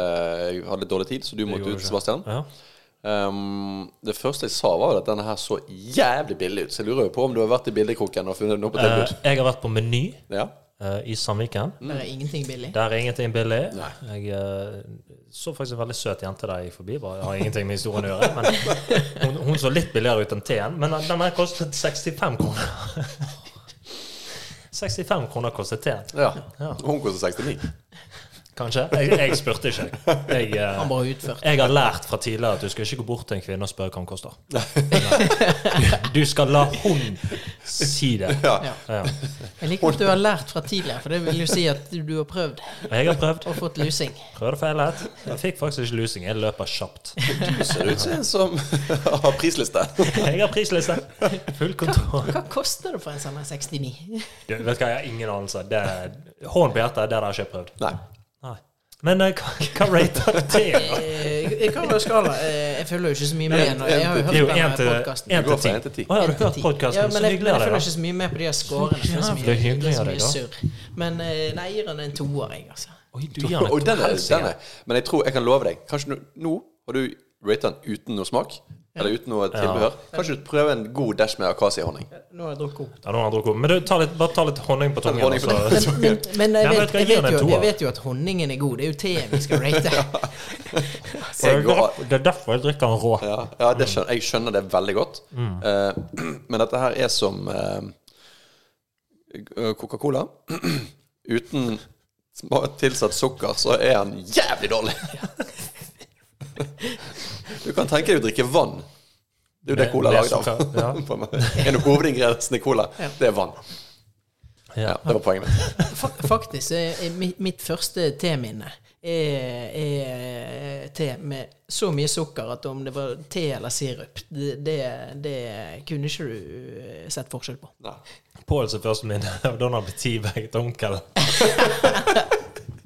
Speaker 3: jeg hadde litt dårlig tid, så du måtte
Speaker 2: gjorde
Speaker 3: ut,
Speaker 2: du.
Speaker 3: Sebastian.
Speaker 2: Ja.
Speaker 3: Um, det første jeg sa, var jo at denne her så jævlig billig ut, så jeg lurer jo på om du har vært i bildekroken og funnet noe på
Speaker 2: Eh,
Speaker 3: tilbud.
Speaker 2: jeg har vært på Meny
Speaker 3: Ja.
Speaker 2: eh, i Sandviken.
Speaker 1: Det er ingenting billig.
Speaker 2: Der er ingenting billig. Jeg eh, så faktisk en veldig søt jente der jeg gikk forbi. Bare, har ingenting med historien å gjøre. Men hun, hun så litt billigere ut enn teen. Men den her kostet 65 kroner. 65 kroner kostet teen.
Speaker 3: ja.
Speaker 2: Ja.
Speaker 3: Hun koster 69.
Speaker 2: Kanskje? Jeg, jeg spurte ikke. Jeg, eh,
Speaker 1: Han bare utførte.
Speaker 2: jeg har lært fra tidligere at du skal ikke gå bort til en kvinne og spørre hva hun koster. Du skal la hun Si det.
Speaker 1: Ja.
Speaker 2: Ja.
Speaker 1: Jeg liker at du har lært fra tidligere, for det vil jo si at du har prøvd
Speaker 2: Og jeg har prøvd.
Speaker 1: og fått lusing.
Speaker 2: Prøvde og feilet. Jeg fikk faktisk ikke lusing. Jeg løper kjapt.
Speaker 3: Du ser ut som en som har prisliste.
Speaker 2: Jeg har prisliste. Full kontroll.
Speaker 1: Hva koster det for en sånn 69?
Speaker 2: Du, vet du hva, jeg har ingen anelse. Det er, hånd på hjertet, det har jeg ikke prøvd.
Speaker 3: Nei.
Speaker 2: Nei. Men eh, hva, hva rater du til?
Speaker 1: Eh, Hva var skala? Eh, Jeg følger jo ikke så mye med. nå. Jeg har jo
Speaker 2: Det er
Speaker 1: hørt
Speaker 2: jo
Speaker 1: på denne
Speaker 2: én til
Speaker 1: podcasten.
Speaker 2: én
Speaker 3: Du går fra én
Speaker 2: til
Speaker 3: til
Speaker 2: ti.
Speaker 3: ti.
Speaker 2: Å, ja, du har hørt
Speaker 1: Ti. Ja,
Speaker 2: podkasten,
Speaker 1: men jeg,
Speaker 2: så
Speaker 1: men
Speaker 2: hyggelig
Speaker 1: jeg
Speaker 2: av
Speaker 1: følger
Speaker 2: deg.
Speaker 1: ikke så mye med på de her scorene. for Det er så mye,
Speaker 2: Jævlig hyggelig
Speaker 1: det er så
Speaker 2: av deg,
Speaker 1: mye
Speaker 2: da.
Speaker 1: surr. Men eh, nei, jeg gir den en toer, jeg, altså.
Speaker 2: da. Oi, du gir han et
Speaker 3: Og den er,
Speaker 2: helsike.
Speaker 3: den er. Men jeg tror jeg kan love deg Kanskje du, nå har du ratet den uten noe smak. Eller uten noe tilbehør. Kanskje du prøver en god dash med akasiehonning.
Speaker 1: Nå har jeg drukket opp.
Speaker 2: Ja, nå har han drukket opp. Men du, ta litt, bare ta litt honning på tungen.
Speaker 3: honning på
Speaker 2: altså.
Speaker 3: tungen.
Speaker 1: Men, men jeg,
Speaker 2: Nei, men
Speaker 1: vet,
Speaker 2: skal
Speaker 1: jeg,
Speaker 2: jeg gi den
Speaker 1: vet
Speaker 2: en
Speaker 1: jo, jeg
Speaker 2: toer?
Speaker 1: vet jo at honningen er god. Det er jo teen vi skal rate.
Speaker 2: Det er
Speaker 3: Jeg går-
Speaker 2: derfor- Det er derfor jeg drikker den rå.
Speaker 3: Ja, ja det skjønner, jeg skjønner det veldig godt. Eh, men dette her er som eh, Coca-Cola. Uten sma- tilsatt sukker, så er han jævlig dårlig. Du kan tenke deg å drikke vann. Det er jo det
Speaker 2: Med-
Speaker 3: cola er
Speaker 2: med
Speaker 3: lagd av.
Speaker 2: sukker, ja.
Speaker 3: På en måte. En av hovedingrediensene i cola, det er vann. Ja, det var poenget mitt.
Speaker 1: Fa- Faktisk eh, er mitt, mitt første teminne er, er te med så mye sukker at om det var te eller sirup, det, det, det kunne ikke du eh, sett forskjell på.
Speaker 3: Nei.
Speaker 2: Pål som første min, og da har blitt teabagget onkel.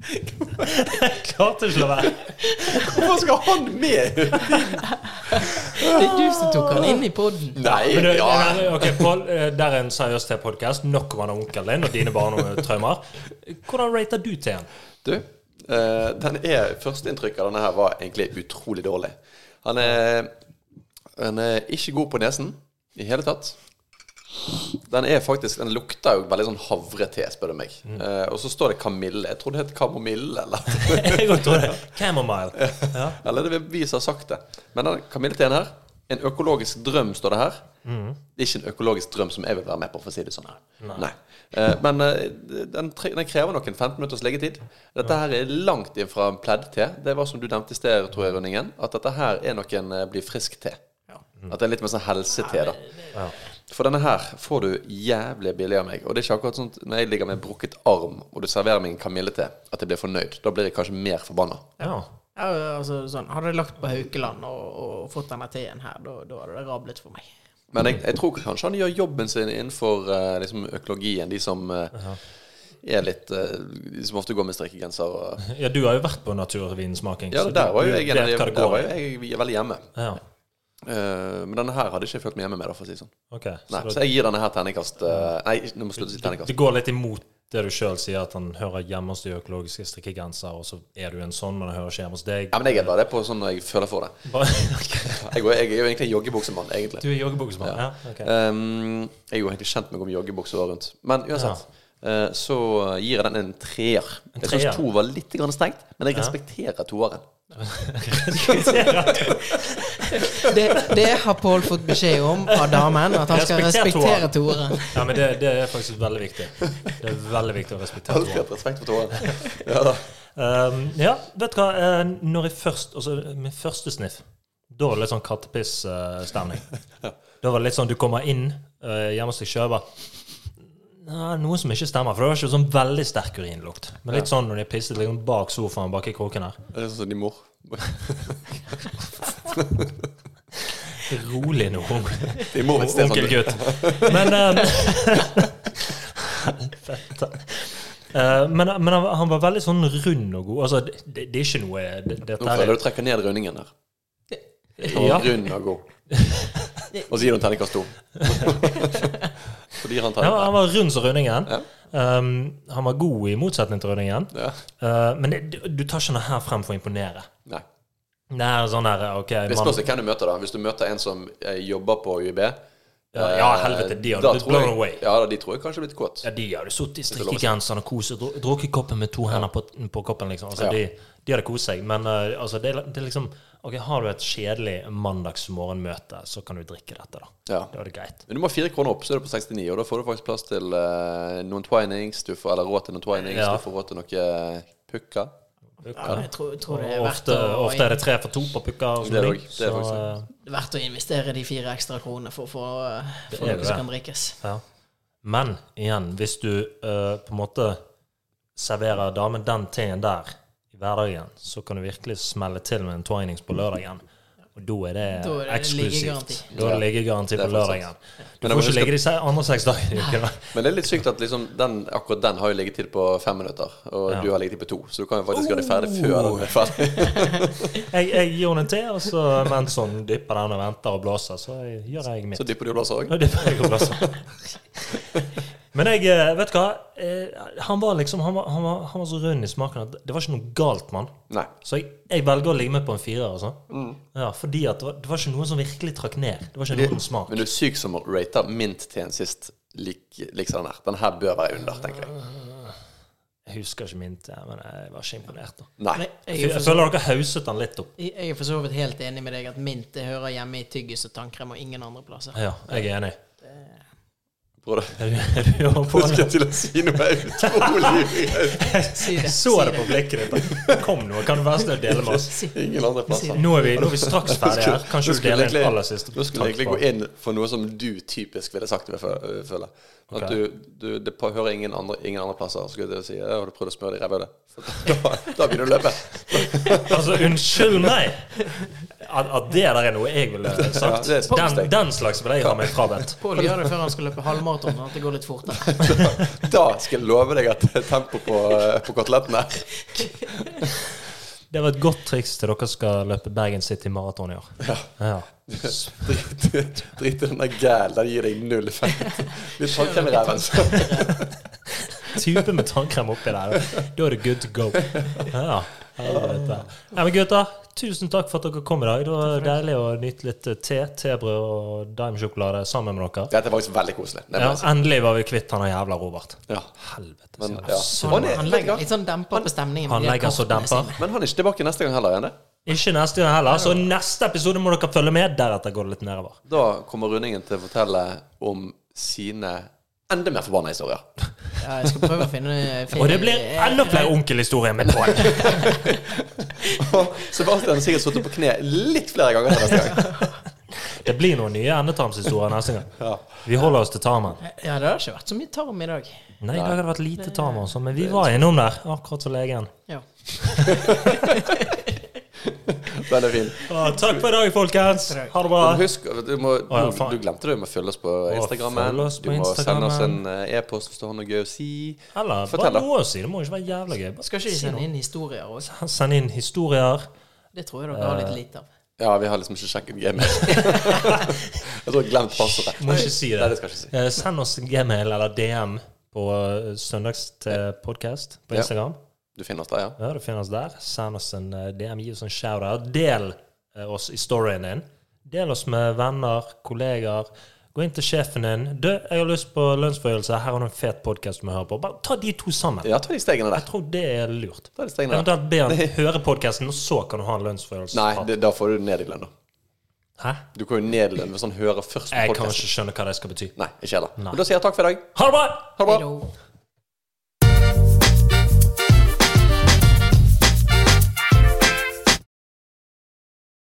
Speaker 2: Jeg klarte ikke å la være.
Speaker 3: Hvorfor skal han med?
Speaker 1: Det er du som tok han inn i poden.
Speaker 3: Nei,
Speaker 2: Men du,
Speaker 3: ja.
Speaker 2: men, ok, Pål, eh, der er en seriøs te-podkast. Nok om han er onkelen din og dine barnetraumer. Hvordan rater du teen?
Speaker 3: Du, eh, den er, førsteinntrykket av denne her var egentlig utrolig dårlig. Han er, han er ikke god på nesen i hele tatt. Den er faktisk, den lukter jo veldig sånn havrete, spør du meg. Eh, og så står det kamille. Jeg trodde det het kamomille, eller,
Speaker 2: Jeg òg tror det. Camomile. Ja.
Speaker 3: eller det vil vi som har sagt det. Men den kamilleteen her, en økologisk drøm, står det her. Det er ikke en økologisk drøm som jeg vil være med på, for å si det sånn. Nei. Eh, men eh, den, tre- den krever nok en 15 minutters leggetid. Dette her er langt ifra en pledd-te. Det var som du nevnte i sted, tror jeg, Rønningen, at dette her er nok en eh, bli frisk-te. At det er litt mer sånn helsete, da. For denne her får du jævlig billig av meg. Og det er ikke akkurat sånn at når jeg ligger med brukket arm, og du serverer meg en kamillete, at jeg blir fornøyd. Da blir jeg kanskje mer forbanna.
Speaker 2: ja.
Speaker 1: Ja, altså, sånn, hadde jeg lagt på Haukeland og, og fått denne teen her, da da hadde det rablet for meg.
Speaker 3: Men jeg, jeg tror kanskje han gjør jobben sin innenfor eh, liksom økologien, de som eh, er litt eh, De som ofte går med strikkegenser og
Speaker 2: ja, du har jo vært på naturvinsmaking.
Speaker 3: Ja,
Speaker 2: så du-
Speaker 3: der var jo
Speaker 2: du
Speaker 3: jeg,
Speaker 2: vet
Speaker 3: en av de-
Speaker 2: hva det
Speaker 3: der
Speaker 2: går
Speaker 3: var
Speaker 2: i.
Speaker 3: jo jeg veldig hjemme.
Speaker 2: Ja,
Speaker 3: Eh, men denne her hadde jeg ikke følt meg hjemme med, da, for å si det sånn.
Speaker 2: ok.
Speaker 3: Nei,
Speaker 2: Så
Speaker 3: så jeg gir denne her terningkast eh, Nei, nå må jeg slutte å si
Speaker 2: det,
Speaker 3: terningkast.
Speaker 2: det går litt imot det du sjøl sier, at han hører hjemme hos de økologiske strikkegrenser, og så er du en sånn, men han hører ikke hjemme hos deg.
Speaker 3: Ja, men jeg er bare det på sånn når jeg føler for det.
Speaker 2: Bare- ok.
Speaker 3: Jeg, går, jeg er jo egentlig en joggebuksemann, egentlig.
Speaker 2: Du er joggebuksemann. Ja. ok.
Speaker 3: Um, jeg er jo egentlig kjent meg om joggebukse året rundt. Men uansett, eh, så gir jeg den en treer. Jeg
Speaker 2: treer?
Speaker 3: syns to var litt grann stengt, men jeg respekterer toeren.
Speaker 1: Det, det har Pål fått beskjed om av damen, at han skal
Speaker 2: Respekter
Speaker 1: respektere toeren.
Speaker 2: Ja, men det, det er faktisk veldig viktig. Det er veldig viktig å respektere
Speaker 3: Alltid
Speaker 2: toeren.
Speaker 3: hatt respekt for toeren. Ja, da.
Speaker 2: Um, ja, vet du hva. eh, Når jeg først Altså, min første sniff, da var det litt sånn kattepisstemning. Da var det litt sånn du kommer inn eh, hjemme hos deg sjøl bare Nei, noe som ikke stemmer. For det var ikke sånn veldig sterk urinlukt. Men litt sånn når de pisset liksom bak sofaen, bak i kroken her.
Speaker 3: Det er sånn som din mor.
Speaker 2: Rolig nå, onkel,
Speaker 3: Din mor visste det, sånn.
Speaker 2: onkel gutt. Men um, Fett, da. Eh, men, men han, han var veldig sånn rund og god. Altså, det, det det er ikke noe det, Dette
Speaker 3: Nå
Speaker 2: her
Speaker 3: føler jeg du trekker ned rundingen her.
Speaker 2: er
Speaker 3: Og
Speaker 2: ja.
Speaker 3: Rund og god. Og så gir du en terningkast to. Så gir
Speaker 2: Ja, han
Speaker 3: han terningkast.
Speaker 2: var rund som Rønningen. Um, han var god i motsetning til Rønningen.
Speaker 3: Ja.
Speaker 2: Uh, men det, du- du tar ikke noe her frem for å imponere.
Speaker 3: Nei.
Speaker 2: Det er sånn her, ok
Speaker 3: Det
Speaker 2: mann-
Speaker 3: spørs hvem du møter, da. Hvis du møter en som eh, jobber på UiB
Speaker 2: Ja, ja, helvete, de har
Speaker 3: eh, da
Speaker 2: blitt
Speaker 3: tror jeg-
Speaker 2: blown away.
Speaker 3: Ja, da, de tror jeg kanskje har blitt kåt.
Speaker 2: ja, De hadde sittet i strikkegenseren og koset dru- drukket koppen med to hender på, på koppen. liksom altså,
Speaker 3: Ja.
Speaker 2: de, de hadde kost seg. Men uh, altså, det, er- det er liksom Ok, Har du et kjedelig mandagsmorgenmøte, så kan du drikke dette, da.
Speaker 3: Ja.
Speaker 2: Da er det greit.
Speaker 3: Men du må ha fire kroner opp, så er du på 69, og da får du faktisk plass til eh, noen twinings, du får, eller råd til noen twinings,
Speaker 2: Ja.
Speaker 3: du får råd til eh, noen pukker.
Speaker 1: Ja, jeg tror, jeg tror det er
Speaker 2: Og
Speaker 1: verdt
Speaker 2: ofte,
Speaker 1: å,
Speaker 2: ofte er det tre for to på pukker. og
Speaker 3: Det er
Speaker 2: sånne ting.
Speaker 3: det også. Det er faktisk
Speaker 2: Så, eh,
Speaker 3: sant.
Speaker 1: verdt å investere de fire ekstra kronene for å få for
Speaker 2: er
Speaker 1: noe
Speaker 2: det.
Speaker 1: som kan drikkes.
Speaker 2: uh, ja. Men igjen, hvis du eh, på en måte serverer damen den teen der i hverdagen, så kan du virkelig smelle til med en twinings på lørdagen. Og da er det
Speaker 1: Da er det
Speaker 2: eksklusivt.
Speaker 1: liggegaranti.
Speaker 2: Da er det liggegaranti
Speaker 3: Ja,
Speaker 2: på
Speaker 3: det er fortsatt.
Speaker 2: lørdagen. Du
Speaker 3: Men jeg
Speaker 2: får
Speaker 3: må
Speaker 2: ikke
Speaker 3: huske-
Speaker 2: ligge de se- andre seks dagene i uken. da.
Speaker 3: Men det er litt sykt at liksom den, akkurat den har jo liggetid på fem minutter, og du har liggetid på to. Så du kan jo faktisk gjøre det ferdig før den er ferdig.
Speaker 2: Oh. Jeg, jeg gir henne en te, og så mens hun dypper den og venter og blåser, så gjør jeg mitt.
Speaker 3: Så dypper du blåser òg.
Speaker 2: Ja, det var jeg også altså. Men jeg, eh, vet du hva? Eh, Han var liksom, han var, han var, han var så rund i smaken at det var ikke noe galt med han.
Speaker 3: Nei.
Speaker 2: Så jeg, jeg velger å ligge med på en firer. Altså.
Speaker 3: Mm.
Speaker 2: Ja, fordi at det var, det var ikke noe som virkelig trakk ned. Det var ikke noen smak.
Speaker 3: Men du er syk som rater mint til en sist lik, lik sånn her. Den her bør være under, tenker jeg.
Speaker 2: Jeg husker ikke min te, men jeg var ikke imponert. Da.
Speaker 3: Nei.
Speaker 1: Nei,
Speaker 2: Jeg,
Speaker 1: jeg, er for så,
Speaker 2: føler dere hauset den litt opp.
Speaker 1: jeg er for så vidt helt enig med deg at mint det hører hjemme i tyggis og tannkrem og ingen andre plasser.
Speaker 2: Ja, jeg er enig.
Speaker 3: Bror,
Speaker 2: Er du, er du over
Speaker 3: du
Speaker 2: på
Speaker 3: skal
Speaker 2: det?
Speaker 3: til å si noe utrolig
Speaker 1: Si det.
Speaker 2: Jeg så det på blikket ditt. Kom nå, kan du være sånn snill å dele med oss?
Speaker 3: Ingen andre plasser.
Speaker 2: Nå er vi, nå er vi straks ferdige her.
Speaker 3: Nå
Speaker 2: Kanskje du
Speaker 3: skulle
Speaker 2: deler
Speaker 3: egentlig-
Speaker 2: en aller siste?
Speaker 3: Nå skulle jeg egentlig
Speaker 2: tanke på-
Speaker 3: gå inn for noe som du typisk ville sagt, vil jeg fø- øh, føle. At
Speaker 2: Ok.
Speaker 3: du, du det på- hører ingen andre, ingen andre plasser. Så skulle jeg til å si ja, har du prøvd å smøre det i ræva? Da, da begynner du å løpe.
Speaker 2: Altså, unnskyld meg! At, at det der er noe jeg ville
Speaker 3: Ja,
Speaker 2: sagt.
Speaker 3: det er et
Speaker 2: Den,
Speaker 3: steg.
Speaker 2: den slags ville jeg ha meg frabedt.
Speaker 1: Pål gjør det før han skal løpe halvmaraton, sånn at det går litt fortere.
Speaker 3: Da skal jeg love deg at det er tempo på, eh, på kotelettene
Speaker 2: Det var et godt triks til dere skal løpe Bergen City Maraton i år.
Speaker 3: Ja.
Speaker 2: Ja.
Speaker 3: Drit, drit i den der gæl, den gir deg null effekt. Litt sånn altså. tannkrem i ræven. så-
Speaker 2: Type med tannkrem oppi der. Da er det good to go. Ja, helvete. Nei, men gutter, tusen takk for at dere kom i dag. Det var deilig å nyte litt eh, te, tebrød og daimsjokolade sammen med dere.
Speaker 3: Dette er faktisk veldig koselig. Det
Speaker 2: Ja,
Speaker 3: må jeg si.
Speaker 2: endelig var vi kvitt han der jævla Robert.
Speaker 3: Ja.
Speaker 2: Helvete.
Speaker 3: Men,
Speaker 2: sier jeg.
Speaker 3: ja.
Speaker 1: Han,
Speaker 3: er-
Speaker 1: han
Speaker 3: vet du
Speaker 1: legger
Speaker 3: hva?
Speaker 1: litt sånn demper på stemningen.
Speaker 2: Han
Speaker 1: med de
Speaker 2: legger så
Speaker 1: kortene
Speaker 2: demper.
Speaker 1: sine.
Speaker 3: Men han er ikke tilbake neste gang heller? er han det?
Speaker 2: Ikke neste gang heller, så neste episode må dere følge med. Deretter går det litt nedover.
Speaker 3: Da kommer Rundingen til å fortelle om sine enda mer forbanna historier.
Speaker 1: Ja, jeg skal prøve å finne, finne
Speaker 2: Og det blir enda flere onkelhistorier med Pål.
Speaker 3: Og Sebastian har sikkert sittet på kne litt flere ganger her neste gang.
Speaker 2: Det blir noen nye endetarmshistorier neste gang.
Speaker 3: Ja.
Speaker 2: Vi holder oss til tarmen.
Speaker 1: Ja, det har ikke vært så mye tarm i dag.
Speaker 2: Nei, i dag har det vært lite tarm, altså. Men vi var innom der, akkurat som legen.
Speaker 1: Ja.
Speaker 3: Veldig fin.
Speaker 2: Å, Takk for i dag, folkens. Ha det bra.
Speaker 3: Men Husk, du, må,
Speaker 2: Å, ja,
Speaker 3: du,
Speaker 2: faen.
Speaker 3: du glemte det med å følge oss på
Speaker 2: Å,
Speaker 3: Instagrammen.
Speaker 2: følg oss på
Speaker 3: Du må sende oss en
Speaker 2: Instagrammen.
Speaker 3: eh, e-post hvis du har noe gøy å si.
Speaker 2: Eller
Speaker 3: Fortell, da.
Speaker 2: bare noe å si. Det må ikke være jævla gøy. Bare
Speaker 1: Skal ikke de
Speaker 2: si noe.
Speaker 1: sende inn historier òg?
Speaker 2: Send inn historier.
Speaker 1: Det tror jeg dere har
Speaker 2: Eh.
Speaker 1: litt lite av.
Speaker 3: Ja, vi har liksom ikke sjekket gamet. jeg tror jeg glemte passordet.
Speaker 2: Må ikke si Altså,
Speaker 3: Nei,
Speaker 2: det.
Speaker 3: det skal jeg ikke si.
Speaker 2: Eh, Send oss en gmail eller DM på eh, Søndags til podcast på
Speaker 3: Ja.
Speaker 2: Instagram.
Speaker 3: Du finner oss der, ja?
Speaker 2: Ja, det finnes der. Send oss en eh, DM, gi oss en shout-out. Del eh, oss i storyen din. Del oss med venner, kollegaer. Gå inn til sjefen din. Du, jeg har lyst på lønnsforhøyelse. Her har du en fet podkast du må høre på. Bare ta de to sammen.
Speaker 3: Ja, ta de stegene
Speaker 2: Jeg
Speaker 3: der.
Speaker 2: tror det er lurt.
Speaker 3: Ta de stegene der.
Speaker 2: Eventuelt be han høre podkasten, og så kan du ha en lønnsforhøyelse.
Speaker 3: Nei, det, da får du det ned i lønn, da.
Speaker 2: Hæ?
Speaker 3: Du kan jo ned i lønn hvis han hører først på
Speaker 2: Jeg kan
Speaker 3: podkasten.
Speaker 2: ikke skjønne hva det skal bety.
Speaker 3: Nei, ikke heller.
Speaker 2: Nei.
Speaker 3: Men da sier jeg takk for i dag.
Speaker 2: Ha det bra!
Speaker 3: Ha det bra.
Speaker 1: Hello.